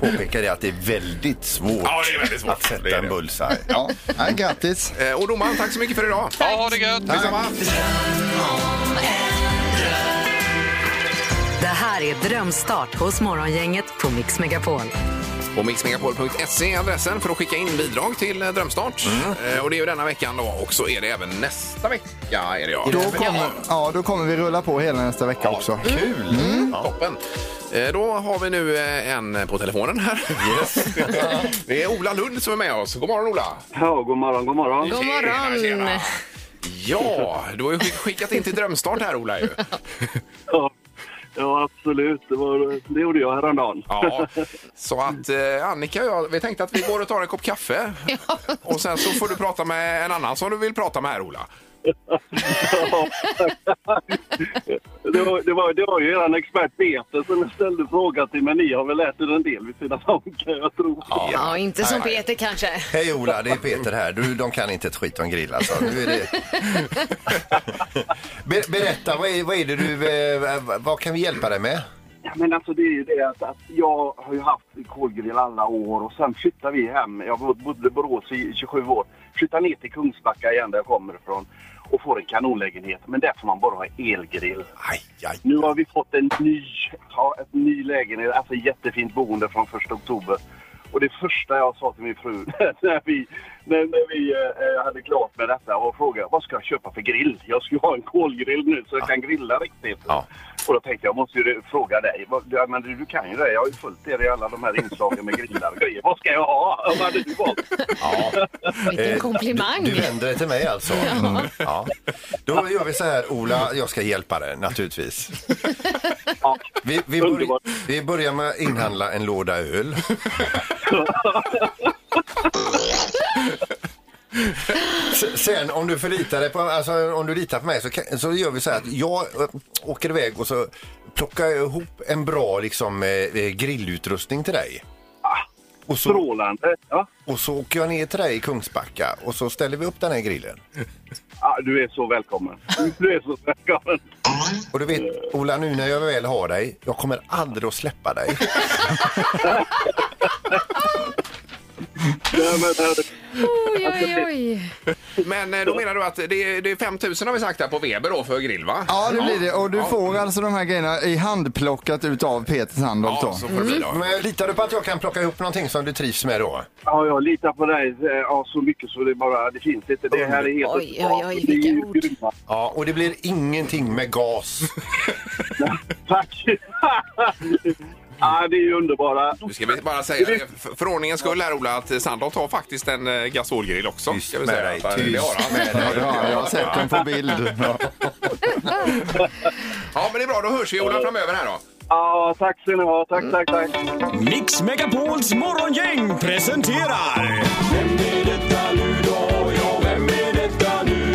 [SPEAKER 3] påpeka det att det är väldigt svårt,
[SPEAKER 2] Ja, det är väldigt svårt.
[SPEAKER 3] att
[SPEAKER 2] Det
[SPEAKER 3] sätta
[SPEAKER 2] är
[SPEAKER 3] en
[SPEAKER 2] det.
[SPEAKER 3] bullseye.
[SPEAKER 5] Ja, nej, grattis.
[SPEAKER 2] Eh, Och domaren, tack så mycket för idag.
[SPEAKER 8] Ja, ha det gött!
[SPEAKER 2] Detsamma.
[SPEAKER 1] Det här är Drömstart hos Morgongänget på Mix Megapol.
[SPEAKER 2] På mixmegapol.se är adressen för att skicka in bidrag till eh, Drömstart. Eh, Och det är ju denna veckan då och så är det även nästa vecka. Är det, ja.
[SPEAKER 5] Då kommer, ja, då kommer vi rulla på hela nästa vecka också.
[SPEAKER 2] Kul! Toppen! Eh, Då har vi nu eh, en på telefonen här. det är Ola Lund som är med oss. God morgon Ola!
[SPEAKER 10] Ja, god morgon, god morgon.
[SPEAKER 4] God morgon.
[SPEAKER 2] Ja, du har ju skick- skickat in till Drömstart här Ola ju.
[SPEAKER 10] Ja, ja absolut. Det, var, det gjorde jag häromdagen.
[SPEAKER 2] Ja, så att eh, Annika och jag, vi tänkte att vi går och tar en kopp kaffe. Och sen så får du prata med en annan som du vill prata med här Ola.
[SPEAKER 10] Det var, det var, det var ju eran expert Peter som ställde frågan till mig. Ni har väl lärt er en del vid sidan om kan jag tro.
[SPEAKER 4] Ja, inte som
[SPEAKER 2] Nej, nej.
[SPEAKER 4] Peter kanske.
[SPEAKER 3] Hej Ola, det är Peter här. Du, de kan inte ett skit om grill alltså. Nu är det... Ber- Berätta, vad är, vad är det du, eh, vad kan vi hjälpa dig med?
[SPEAKER 10] Ja, men alltså det är ju det att, att jag har ju haft kolgrill alla år och sen flyttade vi hem. Jag bod- bodde i Borås i 27 år. Flyttade ner till Kungsbacka igen där jag kommer ifrån och får en kanonlägenhet. Men där får man bara ha elgrill.
[SPEAKER 3] Aj, aj.
[SPEAKER 10] Nu har vi fått en ny, ja, ett ny lägenhet, alltså jättefint boende från 1 oktober. Och det första jag sa till min fru när vi, när, när vi eh, hade klart med detta och frågade vad ska jag köpa för grill? Jag ska ju ha en kolgrill nu så jag kan grilla riktigt.
[SPEAKER 3] Ja.
[SPEAKER 10] Och då tänkte jag, jag måste ju fråga dig. Vad- Ja, men du, du kan ju det. Jag har ju följt er i alla de här inslagen med grillar och grejer. Vad ska jag ha? Vad hade du valt?
[SPEAKER 4] Vilken komplimang.
[SPEAKER 3] Eh, Du vänder dig till mig alltså? Ja. Då gör vi så här, Ola, jag ska hjälpa dig naturligtvis.
[SPEAKER 10] Ja.
[SPEAKER 3] Vi, vi, börj-
[SPEAKER 10] Underbart.
[SPEAKER 3] vi börjar med att inhandla en låda öl. S- Sen om du förlitar dig på, alltså, om du litar på mig så, kan, så gör vi så här att jag eh, åker iväg och så plockar jag ihop en bra liksom, eh, eh, grillutrustning till dig. Och så,
[SPEAKER 11] Ah, Strålande. Ja.
[SPEAKER 3] Och så åker jag ner till dig i Kungsbacka och så ställer vi upp den här grillen.
[SPEAKER 11] Ah, du är så välkommen. Du är så välkommen.
[SPEAKER 3] Och du vet, Ola, nu när jag väl har dig, jag kommer aldrig att släppa dig.
[SPEAKER 4] Oj, oj, oj.
[SPEAKER 2] Men eh, då menar du att det är, det är 5 000 har vi sagt här på Weber då för grill va?
[SPEAKER 5] Ja, det blir det. Och du
[SPEAKER 2] Ja.
[SPEAKER 5] får alltså de här grejerna i handplockat utav Peters Sandholt
[SPEAKER 3] Ja,
[SPEAKER 5] då.
[SPEAKER 3] så får det bli då.
[SPEAKER 5] Mm.
[SPEAKER 3] Men litar du på att jag kan plocka ihop någonting som du trivs med då?
[SPEAKER 11] Ja, jag litar på dig eh, ja, så mycket så det bara det finns inte. Det här är helt
[SPEAKER 3] Oj,
[SPEAKER 11] underbart.
[SPEAKER 3] oj, oj,
[SPEAKER 11] Ni är
[SPEAKER 3] vilka
[SPEAKER 11] ju grymma.
[SPEAKER 3] Ja, och det blir ingenting med gas.
[SPEAKER 11] Tack! ah, det är ju underbara.
[SPEAKER 2] Nu ska vi bara säga
[SPEAKER 10] Mm.
[SPEAKER 2] det, för, för ordningens skull här Ola att Sandholt har faktiskt en eh, gasolgrill också. Tyst
[SPEAKER 3] med dig, tyst med dig.
[SPEAKER 5] Ja, jag har sett den på bild.
[SPEAKER 2] Ja men det är bra, då hörs vi Ola framöver här då.
[SPEAKER 11] Ja, tack ska ni ha. Tack,
[SPEAKER 3] Mm.
[SPEAKER 11] tack, tack.
[SPEAKER 10] Mix Megapols morgongäng presenterar... Vem är detta nu då? Ja, vem är detta nu?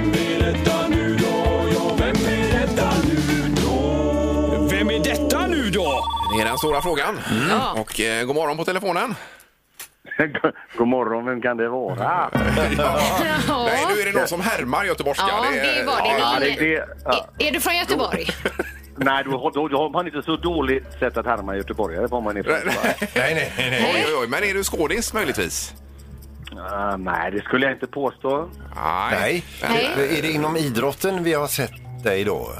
[SPEAKER 10] Vem är detta nu då? Ja, vem är detta nu då? Vem är detta nu då?
[SPEAKER 2] Det är den stora frågan. Och eh, god morgon på telefonen.
[SPEAKER 11] God morgon, vem kan det vara?
[SPEAKER 2] Nej, nu är det någon som härmar göteborgska.
[SPEAKER 4] Ja, det var det.
[SPEAKER 11] Ja, det, det, ja.
[SPEAKER 4] Är du från Göteborg?
[SPEAKER 11] Nej, då, då, då har man inte så dåligt sätt att härma göteborgare. Får man inte.
[SPEAKER 2] Nej, nej, nej. Oj, oj, oj. Men är du skådis möjligtvis?
[SPEAKER 11] Ah, nej, det skulle jag inte påstå.
[SPEAKER 3] Nej. Är det inom idrotten vi har sett dig då?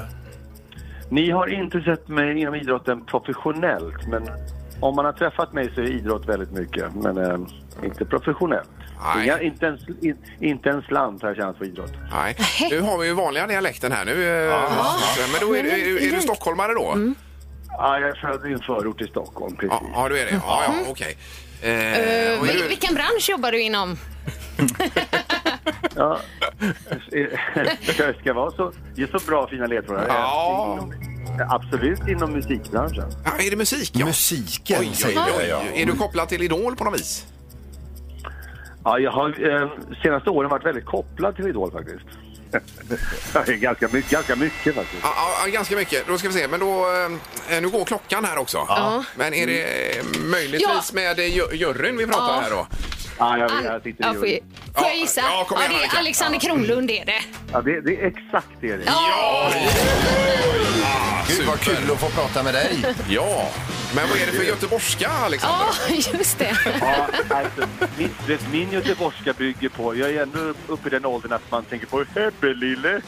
[SPEAKER 11] Ni har inte sett mig inom idrotten professionellt, men om man har träffat mig så är idrott väldigt mycket, men eh, inte professionellt. Inga, inte, en, sl- in, inte en slant har jag tjänat på idrott.
[SPEAKER 2] Nej. Nu har vi ju vanliga dialekten här nu. eh, Men Mm. då är, du- är, du- är du stockholmare då?
[SPEAKER 11] Ja, jag är född i en förort i Stockholm, precis.
[SPEAKER 2] Ja, ja, du är det. Ja, ja, okej. Mm. Eh,
[SPEAKER 4] Eh,
[SPEAKER 2] och är
[SPEAKER 4] vil-
[SPEAKER 2] du-
[SPEAKER 4] vilken bransch jobbar du inom?
[SPEAKER 11] Ja. Ska, ska vara så, ge så bra fina ledtrådar.
[SPEAKER 2] Ja.
[SPEAKER 11] Inom, absolut inom musikbranschen.
[SPEAKER 2] Ja, är det musik? Ja.
[SPEAKER 3] Musiken
[SPEAKER 2] oj,
[SPEAKER 11] säger
[SPEAKER 2] oj, oj.
[SPEAKER 11] jag, ja.
[SPEAKER 2] Är du kopplad till Idol på något vis?
[SPEAKER 11] Ja, jag har eh, senaste åren varit väldigt kopplad till Idol faktiskt. ganska, mycket, ganska mycket faktiskt.
[SPEAKER 2] Ja, ja, ja, ganska mycket. Då ska vi se. Men då, eh, nu går klockan här också.
[SPEAKER 11] Ja.
[SPEAKER 2] Men är det eh, möjligtvis med eh, jö- juryn vi pratar
[SPEAKER 4] Ja.
[SPEAKER 2] här då?
[SPEAKER 11] Ja, jag,
[SPEAKER 4] An- ja, får, jag- får jag gissa?
[SPEAKER 2] ja, kom igen,
[SPEAKER 4] det är
[SPEAKER 2] Annika.
[SPEAKER 4] Alexander Kronlund är det.
[SPEAKER 11] Ja, det, det är exakt det. det.
[SPEAKER 4] Ja!
[SPEAKER 3] Gud vad kul att få prata med dig.
[SPEAKER 2] Ah, Ja, men vad är det för göteborgska Alexander?
[SPEAKER 4] Ja, just det.
[SPEAKER 11] Ja, alltså, min, du vet, min göteborgska bygger på... Jag är ändå uppe i den åldern att man tänker på Hebbe lille.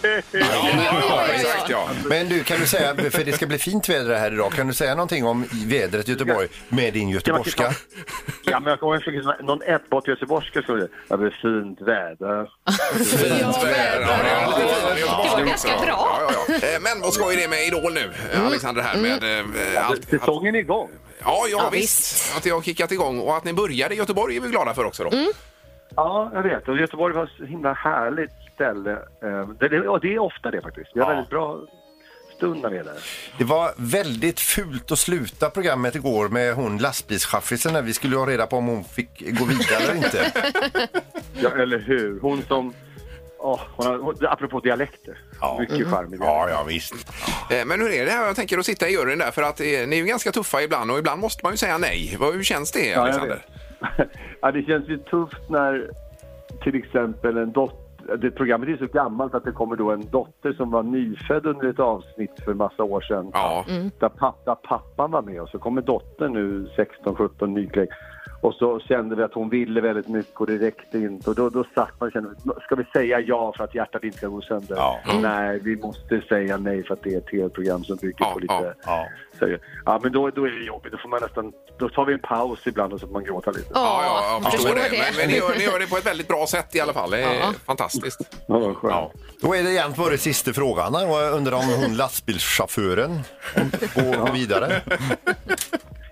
[SPEAKER 2] exakt, ja.
[SPEAKER 3] Men du, kan du säga, för det ska bli fint väder här idag, kan du säga någonting om vädret i Göteborg med din göteborgska?
[SPEAKER 11] Ja, men jag kommer ihåg att någon ettbart göteborgska skulle säga ja, det är fint väder.
[SPEAKER 2] Ja, det var lite finare göteborgska
[SPEAKER 11] Det var
[SPEAKER 2] också
[SPEAKER 11] ganska
[SPEAKER 2] då.
[SPEAKER 11] bra.
[SPEAKER 2] Ja, ja, ja. Eh, Men vad skoj det är med Idol nu, eh, Alexander här med eh, allt.
[SPEAKER 11] Säsongen är igång.
[SPEAKER 2] Ja, ja,
[SPEAKER 11] Ja,
[SPEAKER 2] visst. Mm. Att det har kickat igång och att ni började i Göteborg är vi glada för också då.
[SPEAKER 11] Ja, jag vet. Och Göteborg var ett så himla härligt ställe. Eh, Det, det, ja, det är ofta det faktiskt. Vi har väldigt bra stund när vi är där.
[SPEAKER 3] Det var väldigt fult att sluta programmet igår med hon lastbilschaffisen där. Vi skulle ju ha reda på om hon fick gå vidare eller inte.
[SPEAKER 11] Ja, eller hur? Hon som... Oh, hon har, hon, apropå dialekter. Mycket charmig.
[SPEAKER 3] Ja, ja, visst.
[SPEAKER 2] Eh, Men hur är det här? Jag tänker att sitta i juryn där för att eh, ni är ju ganska tuffa ibland och ibland måste man ju säga nej. Vad- Hur känns det
[SPEAKER 11] jag
[SPEAKER 2] Alexander?
[SPEAKER 11] Ja, det känns ju tufft när till exempel en dotter... Det programmet är så gammalt att det kommer då en dotter som var nyfödd under ett avsnitt för massa år sedan. Där, papp, där pappan var med och så kommer dottern nu 16, 17, nykläckt. Och så kände vi att hon ville väldigt mycket och det räckte inte. Och då, då satt man och kände, ska vi säga ja för att hjärtat inte ska gå sönder? Nej, vi måste säga nej för att det är ett tv-program som bygger på lite... Ja. ja, men då, då är det jobbigt. Då får man nästan... Då tar vi en paus ibland och så får man gråta lite.
[SPEAKER 2] Ja, ja, jag förstår
[SPEAKER 11] förstår
[SPEAKER 2] det.
[SPEAKER 11] det.
[SPEAKER 2] Men, men ni, gör, ni gör det på ett väldigt bra sätt i alla fall. Det är
[SPEAKER 3] Ja.
[SPEAKER 2] fantastiskt.
[SPEAKER 11] Ja.
[SPEAKER 3] Då är det egentligen bara sista frågan. här. Jag undrar om hon lastbilschauffören går vidare.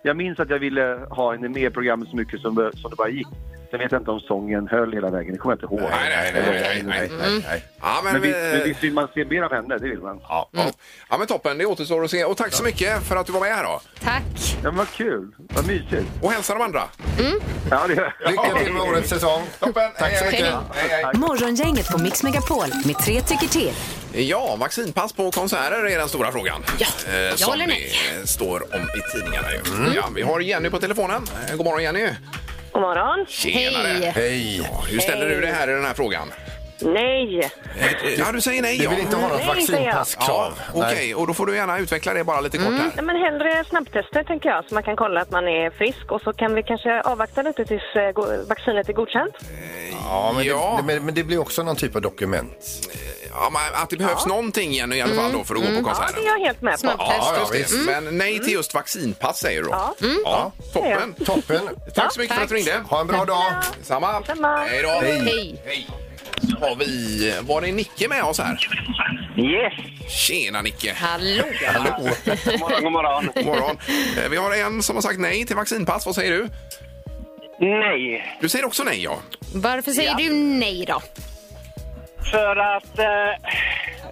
[SPEAKER 11] Jag minns att jag ville ha henne med i programmet så mycket som, som det bara gick. Sen vet jag inte om sången höll hela vägen. Det kommer jag inte ihåg.
[SPEAKER 2] Nej, nej, nej. nej, nej, nej. Ja, men,
[SPEAKER 11] Mm. men, visst, men
[SPEAKER 2] eh,
[SPEAKER 11] visst vill man se mer av henne, det vill man.
[SPEAKER 2] Ja, ja. ja men toppen, det återstår att se. Och tack så mycket för att du var med här då.
[SPEAKER 4] Tack.
[SPEAKER 2] Ja, vad kul, vad mysigt. Och hälsa de andra.
[SPEAKER 11] Ja, det
[SPEAKER 3] Lycka till med årets säsong.
[SPEAKER 2] Toppen.
[SPEAKER 3] Tack så
[SPEAKER 2] Hej,
[SPEAKER 3] mycket.
[SPEAKER 1] Morgongänget på Mix Megapol med tre tycker till.
[SPEAKER 2] Ja, vaccinpass på konserter är den stora frågan. Ja, eh, som
[SPEAKER 1] håller med.
[SPEAKER 2] det eh, står om i tidningarna. ju. Mm. Ja, vi har Jenny på telefonen. Eh, God morgon Jenny.
[SPEAKER 12] God morgon.
[SPEAKER 2] Tjenare. Hej. Ja, hur ställer
[SPEAKER 12] Hej.
[SPEAKER 2] du dig här i den här frågan?
[SPEAKER 12] Nej.
[SPEAKER 2] Eh, Ja, du säger nej.
[SPEAKER 12] Du
[SPEAKER 2] ja.
[SPEAKER 12] vill inte ha något Nej, vaccinpasskrav.
[SPEAKER 2] Ja, Okej, och då får du gärna utveckla det bara lite kort här.
[SPEAKER 12] Nej, men hellre snabbtester tänker jag, så man kan kolla att man är frisk och så kan vi kanske avvakta lite tills eh, go- vaccinet är godkänt.
[SPEAKER 3] Ja, men, Det, men, men det blir också någon typ av dokument.
[SPEAKER 2] Ja, Mm. men att det behövs någonting Jenny i alla fall då för att gå på
[SPEAKER 12] Ja,
[SPEAKER 2] konserten.
[SPEAKER 12] det är jag helt med på.
[SPEAKER 2] Ja, ja, visst. Men nej till just vaccinpass säger du då.
[SPEAKER 12] Ja.
[SPEAKER 2] Mm. Ja, toppen.
[SPEAKER 3] Toppen.
[SPEAKER 2] Tack så mycket för att du ringde. Ha en bra dag. Samma. Hej då.
[SPEAKER 3] Hej.
[SPEAKER 2] Hej. Så Har vi, var det Nicke med oss här? Yes. Tjena Nicke.
[SPEAKER 4] Hallå.
[SPEAKER 2] Hallå.
[SPEAKER 11] God morgon, god morgon.
[SPEAKER 2] God morgon. Eh, Vi har en som har sagt nej till vaccinpass. Vad säger du? Nej. Du säger också nej ja.
[SPEAKER 13] Eh,
[SPEAKER 4] Varför säger
[SPEAKER 2] Ja.
[SPEAKER 4] du nej då?
[SPEAKER 13] För att eh,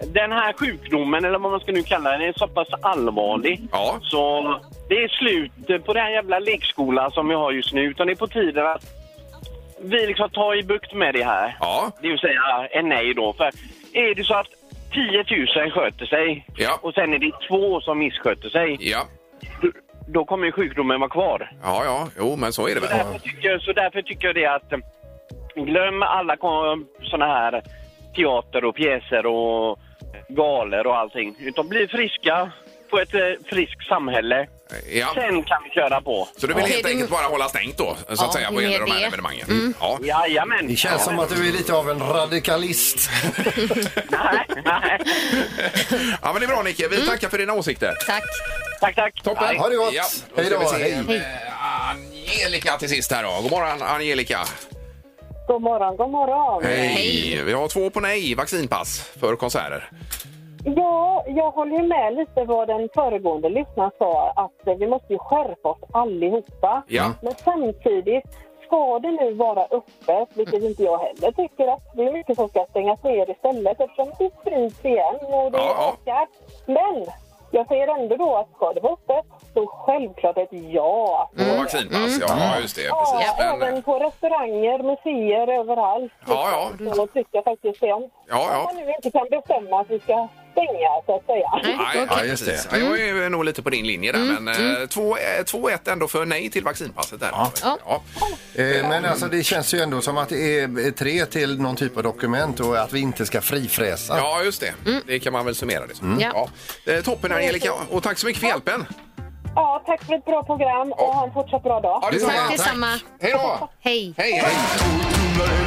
[SPEAKER 13] den här sjukdomen, eller vad man ska nu kalla den, är så pass allvarlig.
[SPEAKER 2] Ja.
[SPEAKER 13] Så det är slut på den här jävla lekskolan som vi har just nu. Utan det är på tiden att vi liksom tar i bukt med det här.
[SPEAKER 2] Ja.
[SPEAKER 13] Det vill säga en nej då. För är det så att 10 000 sköter sig och sen är det två som missköter sig.
[SPEAKER 2] Ja.
[SPEAKER 13] Då kommer ju sjukdomen vara kvar.
[SPEAKER 2] Ja, ja, jo, men så är det
[SPEAKER 13] Så
[SPEAKER 2] väl.
[SPEAKER 13] därför tycker, jag- så därför tycker jag det att eh, glöm alla kon- såna här teater och pjäser och galor och allting. Utan bli friska, få ett eh, friskt samhälle.
[SPEAKER 2] Ja.
[SPEAKER 13] Sen kan vi köra på.
[SPEAKER 2] Så du vill helt enkelt bara hålla stängt då, så att
[SPEAKER 13] Ja,
[SPEAKER 2] säga,
[SPEAKER 13] det
[SPEAKER 2] vad
[SPEAKER 13] är
[SPEAKER 2] gäller de här
[SPEAKER 13] det.
[SPEAKER 2] evenemangen?
[SPEAKER 13] Mm.
[SPEAKER 2] Ja.
[SPEAKER 13] Jajamän.
[SPEAKER 3] Det känns som att du är lite av en radikalist.
[SPEAKER 2] Ja, men det är bra Nicke.
[SPEAKER 13] Mm.
[SPEAKER 2] Vi tackar för dina åsikter.
[SPEAKER 4] Tack.
[SPEAKER 13] Tack, tack.
[SPEAKER 2] Toppen.
[SPEAKER 3] Ha det gott.
[SPEAKER 2] Ja,
[SPEAKER 3] Hej då.
[SPEAKER 2] Då ska vi se,
[SPEAKER 3] Hej.
[SPEAKER 2] eh, Angelica till sist här då. God morgon Angelica.
[SPEAKER 14] God morgon, god morgon.
[SPEAKER 2] Hej. Vi har två på nej, vaccinpass för konserter.
[SPEAKER 14] Ja, jag håller ju med lite vad den föregående lyssnaren sa att eh, vi måste ju skärpa oss allihopa.
[SPEAKER 2] Ja.
[SPEAKER 14] Men samtidigt, ska det nu vara öppet, vilket inte jag heller tycker att det är mycket som ska stängas ner istället eftersom det sprids igen och det
[SPEAKER 2] Ja, ja.
[SPEAKER 14] ökar. Men jag säger ändå då att ska det vara öppet, så självklart ett ja.
[SPEAKER 2] På vaccinpass, Mm. ja just det. Precis.
[SPEAKER 14] Ja,
[SPEAKER 2] Men,
[SPEAKER 14] även på restauranger, museer, överallt.
[SPEAKER 2] Ja,
[SPEAKER 14] ja. Så tycker jag faktiskt det. Om
[SPEAKER 2] ja, ja.
[SPEAKER 14] man nu inte kan bestämma att vi ska stänga, så att säga.
[SPEAKER 2] Nej, ja, just det. Mm. Ja, Jag är ju nog lite på din linje där, men eh, 2-1 ändå för nej till vaccinpasset. Där. Ja. Ja.
[SPEAKER 3] Eh, Men alltså det känns ju ändå som att det är tre till någon typ av dokument och att vi inte ska frifräsa.
[SPEAKER 2] just det. Det kan man väl summera det som.
[SPEAKER 3] Mm.
[SPEAKER 2] Ja. Eh, Toppen Angelica, och tack så mycket för hjälpen.
[SPEAKER 14] Ja, tack för ett bra program och ha en fortsatt bra dag.
[SPEAKER 2] Ja, detsamma. Tack,
[SPEAKER 4] Detsamma.
[SPEAKER 2] Hej då.
[SPEAKER 4] Hej.
[SPEAKER 2] Hej, hej.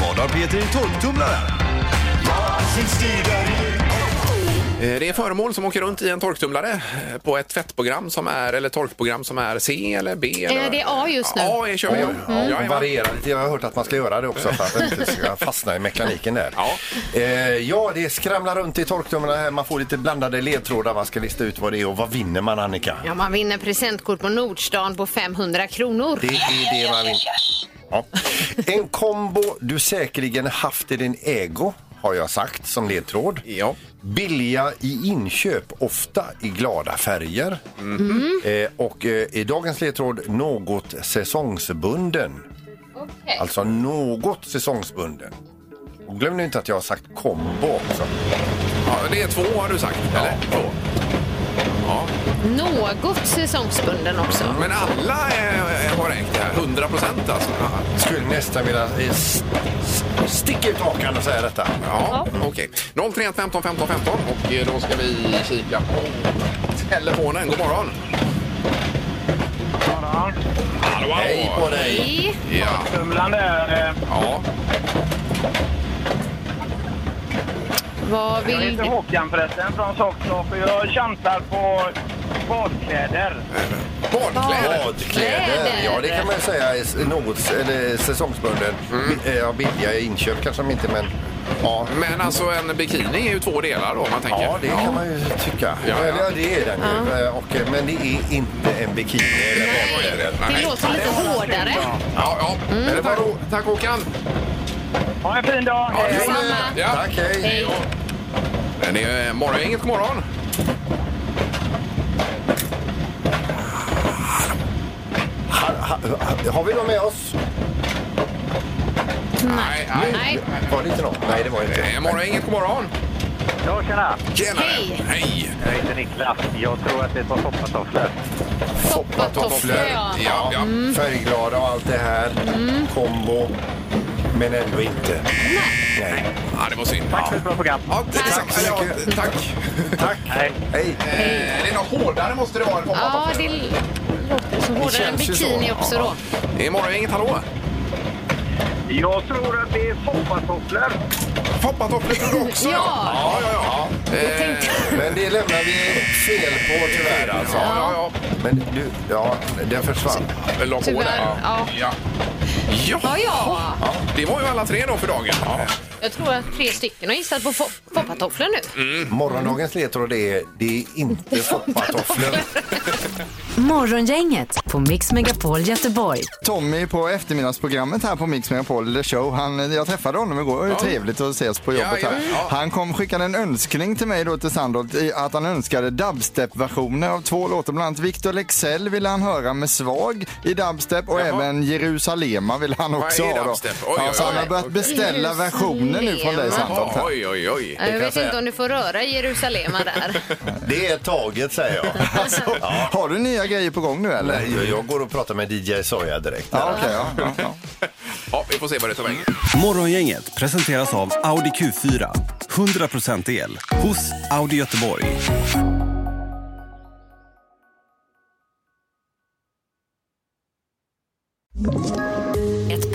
[SPEAKER 10] Vad har Peter i torktumlaren?
[SPEAKER 2] Eh, Det är föremål som åker runt i en torktumlare eh, på ett tvättprogram som är, eller torkprogram som är C eller B. Eller...
[SPEAKER 4] Eh, Det är A just nu.
[SPEAKER 2] Ja, jag kör vi.
[SPEAKER 3] Ja,
[SPEAKER 2] Ja, ja.
[SPEAKER 3] varierar lite. Jag har hört att man ska göra det också för att inte ska fastna i mekaniken där. Ja, eh, ja det skramlar runt i torktumlarna här. Man får lite blandade ledtrådar. Man ska lista ut vad det är och vad vinner man Annika?
[SPEAKER 4] Ja, man vinner presentkort på Nordstan på 500 kronor.
[SPEAKER 3] Det är det man vinner. Ja. En kombo du säkerligen haft i din ägo har jag sagt som ledtråd.
[SPEAKER 2] Ja.
[SPEAKER 3] Billiga i inköp, ofta i glada färger. Eh, och eh, i dagens ledtråd något säsongsbunden. Alltså något säsongsbunden. Och glöm nu inte att jag har sagt kombo också.
[SPEAKER 2] Ja, det är två har du sagt, eller? Två. Ja.
[SPEAKER 4] Något säsongsbunden också.
[SPEAKER 2] Men alla eh, har räknat det här, 100 procent alltså.
[SPEAKER 3] Skulle nästan vilja eh, s- s- sticka ut hakan och säga detta.
[SPEAKER 2] Ja, okej. 031 15 15 15 och eh, då ska vi kika på telefonen. God morgon! Hallå, hallå.
[SPEAKER 10] Hej på dig.
[SPEAKER 2] Ja.
[SPEAKER 13] Tumlan där.
[SPEAKER 2] Ja.
[SPEAKER 4] Vad vill
[SPEAKER 13] jag heter Håkan förresten från Sockshop och jag chansar på badkläder.
[SPEAKER 2] Badkläder?
[SPEAKER 3] Badkläder. Ja, det kan Eh, man ju säga är s- något s- eller säsongsbunden. Mm. billiga inköp kanske de inte, men
[SPEAKER 2] Men alltså en bikini är ju två delar då om man tänker.
[SPEAKER 3] Ja, det kan man ju tycka.
[SPEAKER 2] Ja, ja.
[SPEAKER 3] Eller det är den ju. Och, eh, men det är inte en bikini. eller vad det är.
[SPEAKER 4] Det låter lite hårdare.
[SPEAKER 2] Ja, ja. Men det var ro- Mm, Tack Håkan!
[SPEAKER 13] Ha en fin dag!
[SPEAKER 2] Ja,
[SPEAKER 4] Detsamma.
[SPEAKER 2] ja. Tack,
[SPEAKER 3] hej.
[SPEAKER 4] Hej.
[SPEAKER 2] Men det är morgongänget, god morgon!
[SPEAKER 3] Har, har, har vi någon med oss?
[SPEAKER 2] Nej, nej.
[SPEAKER 3] Var det inte någon? Nej, det var inte.
[SPEAKER 2] Eh, Morgongänget, god morgon!
[SPEAKER 13] Ja, tjena!
[SPEAKER 2] Tjena! Hej! Hej!
[SPEAKER 13] Jag heter Niklas. Jag tror att det var foppatofflor.
[SPEAKER 3] Tofflor.
[SPEAKER 4] Tofflor, ja.
[SPEAKER 3] Ja, ja.
[SPEAKER 2] Mm.
[SPEAKER 3] Färgglada och allt det här. Kombo. Men ändå inte. Nej.
[SPEAKER 2] Ja, det var synd.
[SPEAKER 13] Tack för ett bra program.
[SPEAKER 2] Ja, tack. Tack. tack.
[SPEAKER 3] Tack.
[SPEAKER 13] Hej.
[SPEAKER 3] Hej.
[SPEAKER 2] Eh, det är något hårdare måste det vara. än
[SPEAKER 4] Ja, det låter som hårdare än
[SPEAKER 2] känns ju
[SPEAKER 4] bikini
[SPEAKER 2] så.
[SPEAKER 4] också
[SPEAKER 2] Ja.
[SPEAKER 4] då.
[SPEAKER 2] Det är morgongänget, hallå!
[SPEAKER 13] Jag tror att det är foppatofflor.
[SPEAKER 2] Foppatofflor tror du också?
[SPEAKER 4] Ja.
[SPEAKER 2] ja, ja. ja. Eh,
[SPEAKER 3] Men det lämnar vi fel på tyvärr alltså.
[SPEAKER 2] ja, ja, ja.
[SPEAKER 3] Men du, ja, den försvann.
[SPEAKER 2] Eller la på
[SPEAKER 4] Tyvärr,
[SPEAKER 2] där.
[SPEAKER 4] ja.
[SPEAKER 2] Ja.
[SPEAKER 4] Ja,
[SPEAKER 2] Ja.
[SPEAKER 4] ja.
[SPEAKER 2] Det var ju alla tre då för dagen. Ja.
[SPEAKER 4] Jag tror att tre stycken har gissat på fo- foppatofflor nu.
[SPEAKER 2] Mm,
[SPEAKER 3] Morgondagens ledtråd är det är inte foppatofflor.
[SPEAKER 1] Morgongänget på Mix Megapol Göteborg.
[SPEAKER 5] Tommy på eftermiddagsprogrammet här på Mix Megapol The Show. Han, jag träffade honom igår. Det var trevligt att ses på jobbet
[SPEAKER 2] Ja,
[SPEAKER 5] här.
[SPEAKER 2] ja, ja.
[SPEAKER 5] Han kom skickade en önskning till mig då till Sandholt i att han önskade dubstep-versioner av två låtar. Bland annat Victor Lexell ville han höra med Svag i dubstep och även Jerusalema ville han
[SPEAKER 2] Vad
[SPEAKER 5] också
[SPEAKER 2] är
[SPEAKER 5] ha. Då.
[SPEAKER 2] dubstep? Oj,
[SPEAKER 5] ja, så
[SPEAKER 2] oj,
[SPEAKER 5] han har
[SPEAKER 2] oj.
[SPEAKER 5] börjat
[SPEAKER 2] Okej.
[SPEAKER 5] beställa versioner nu från dig
[SPEAKER 4] Jerusalema.
[SPEAKER 5] Sandholt. här.
[SPEAKER 2] Oj, oj, oj.
[SPEAKER 4] Jag vet
[SPEAKER 3] säga.
[SPEAKER 4] inte om du får röra Jerusalema där.
[SPEAKER 3] Det är taget säger jag.
[SPEAKER 4] Alltså.
[SPEAKER 5] Har du nya grejer på gång nu eller?
[SPEAKER 3] Nej, jag- jag går och pratar med DJ Soja direkt.
[SPEAKER 5] Ja, okej, ja, ja, ja.
[SPEAKER 2] Ja, vi får se vad det tar vägen.
[SPEAKER 15] Morgongänget presenteras av Audi Q4. 100% el hos Audi Göteborg.
[SPEAKER 16] Ett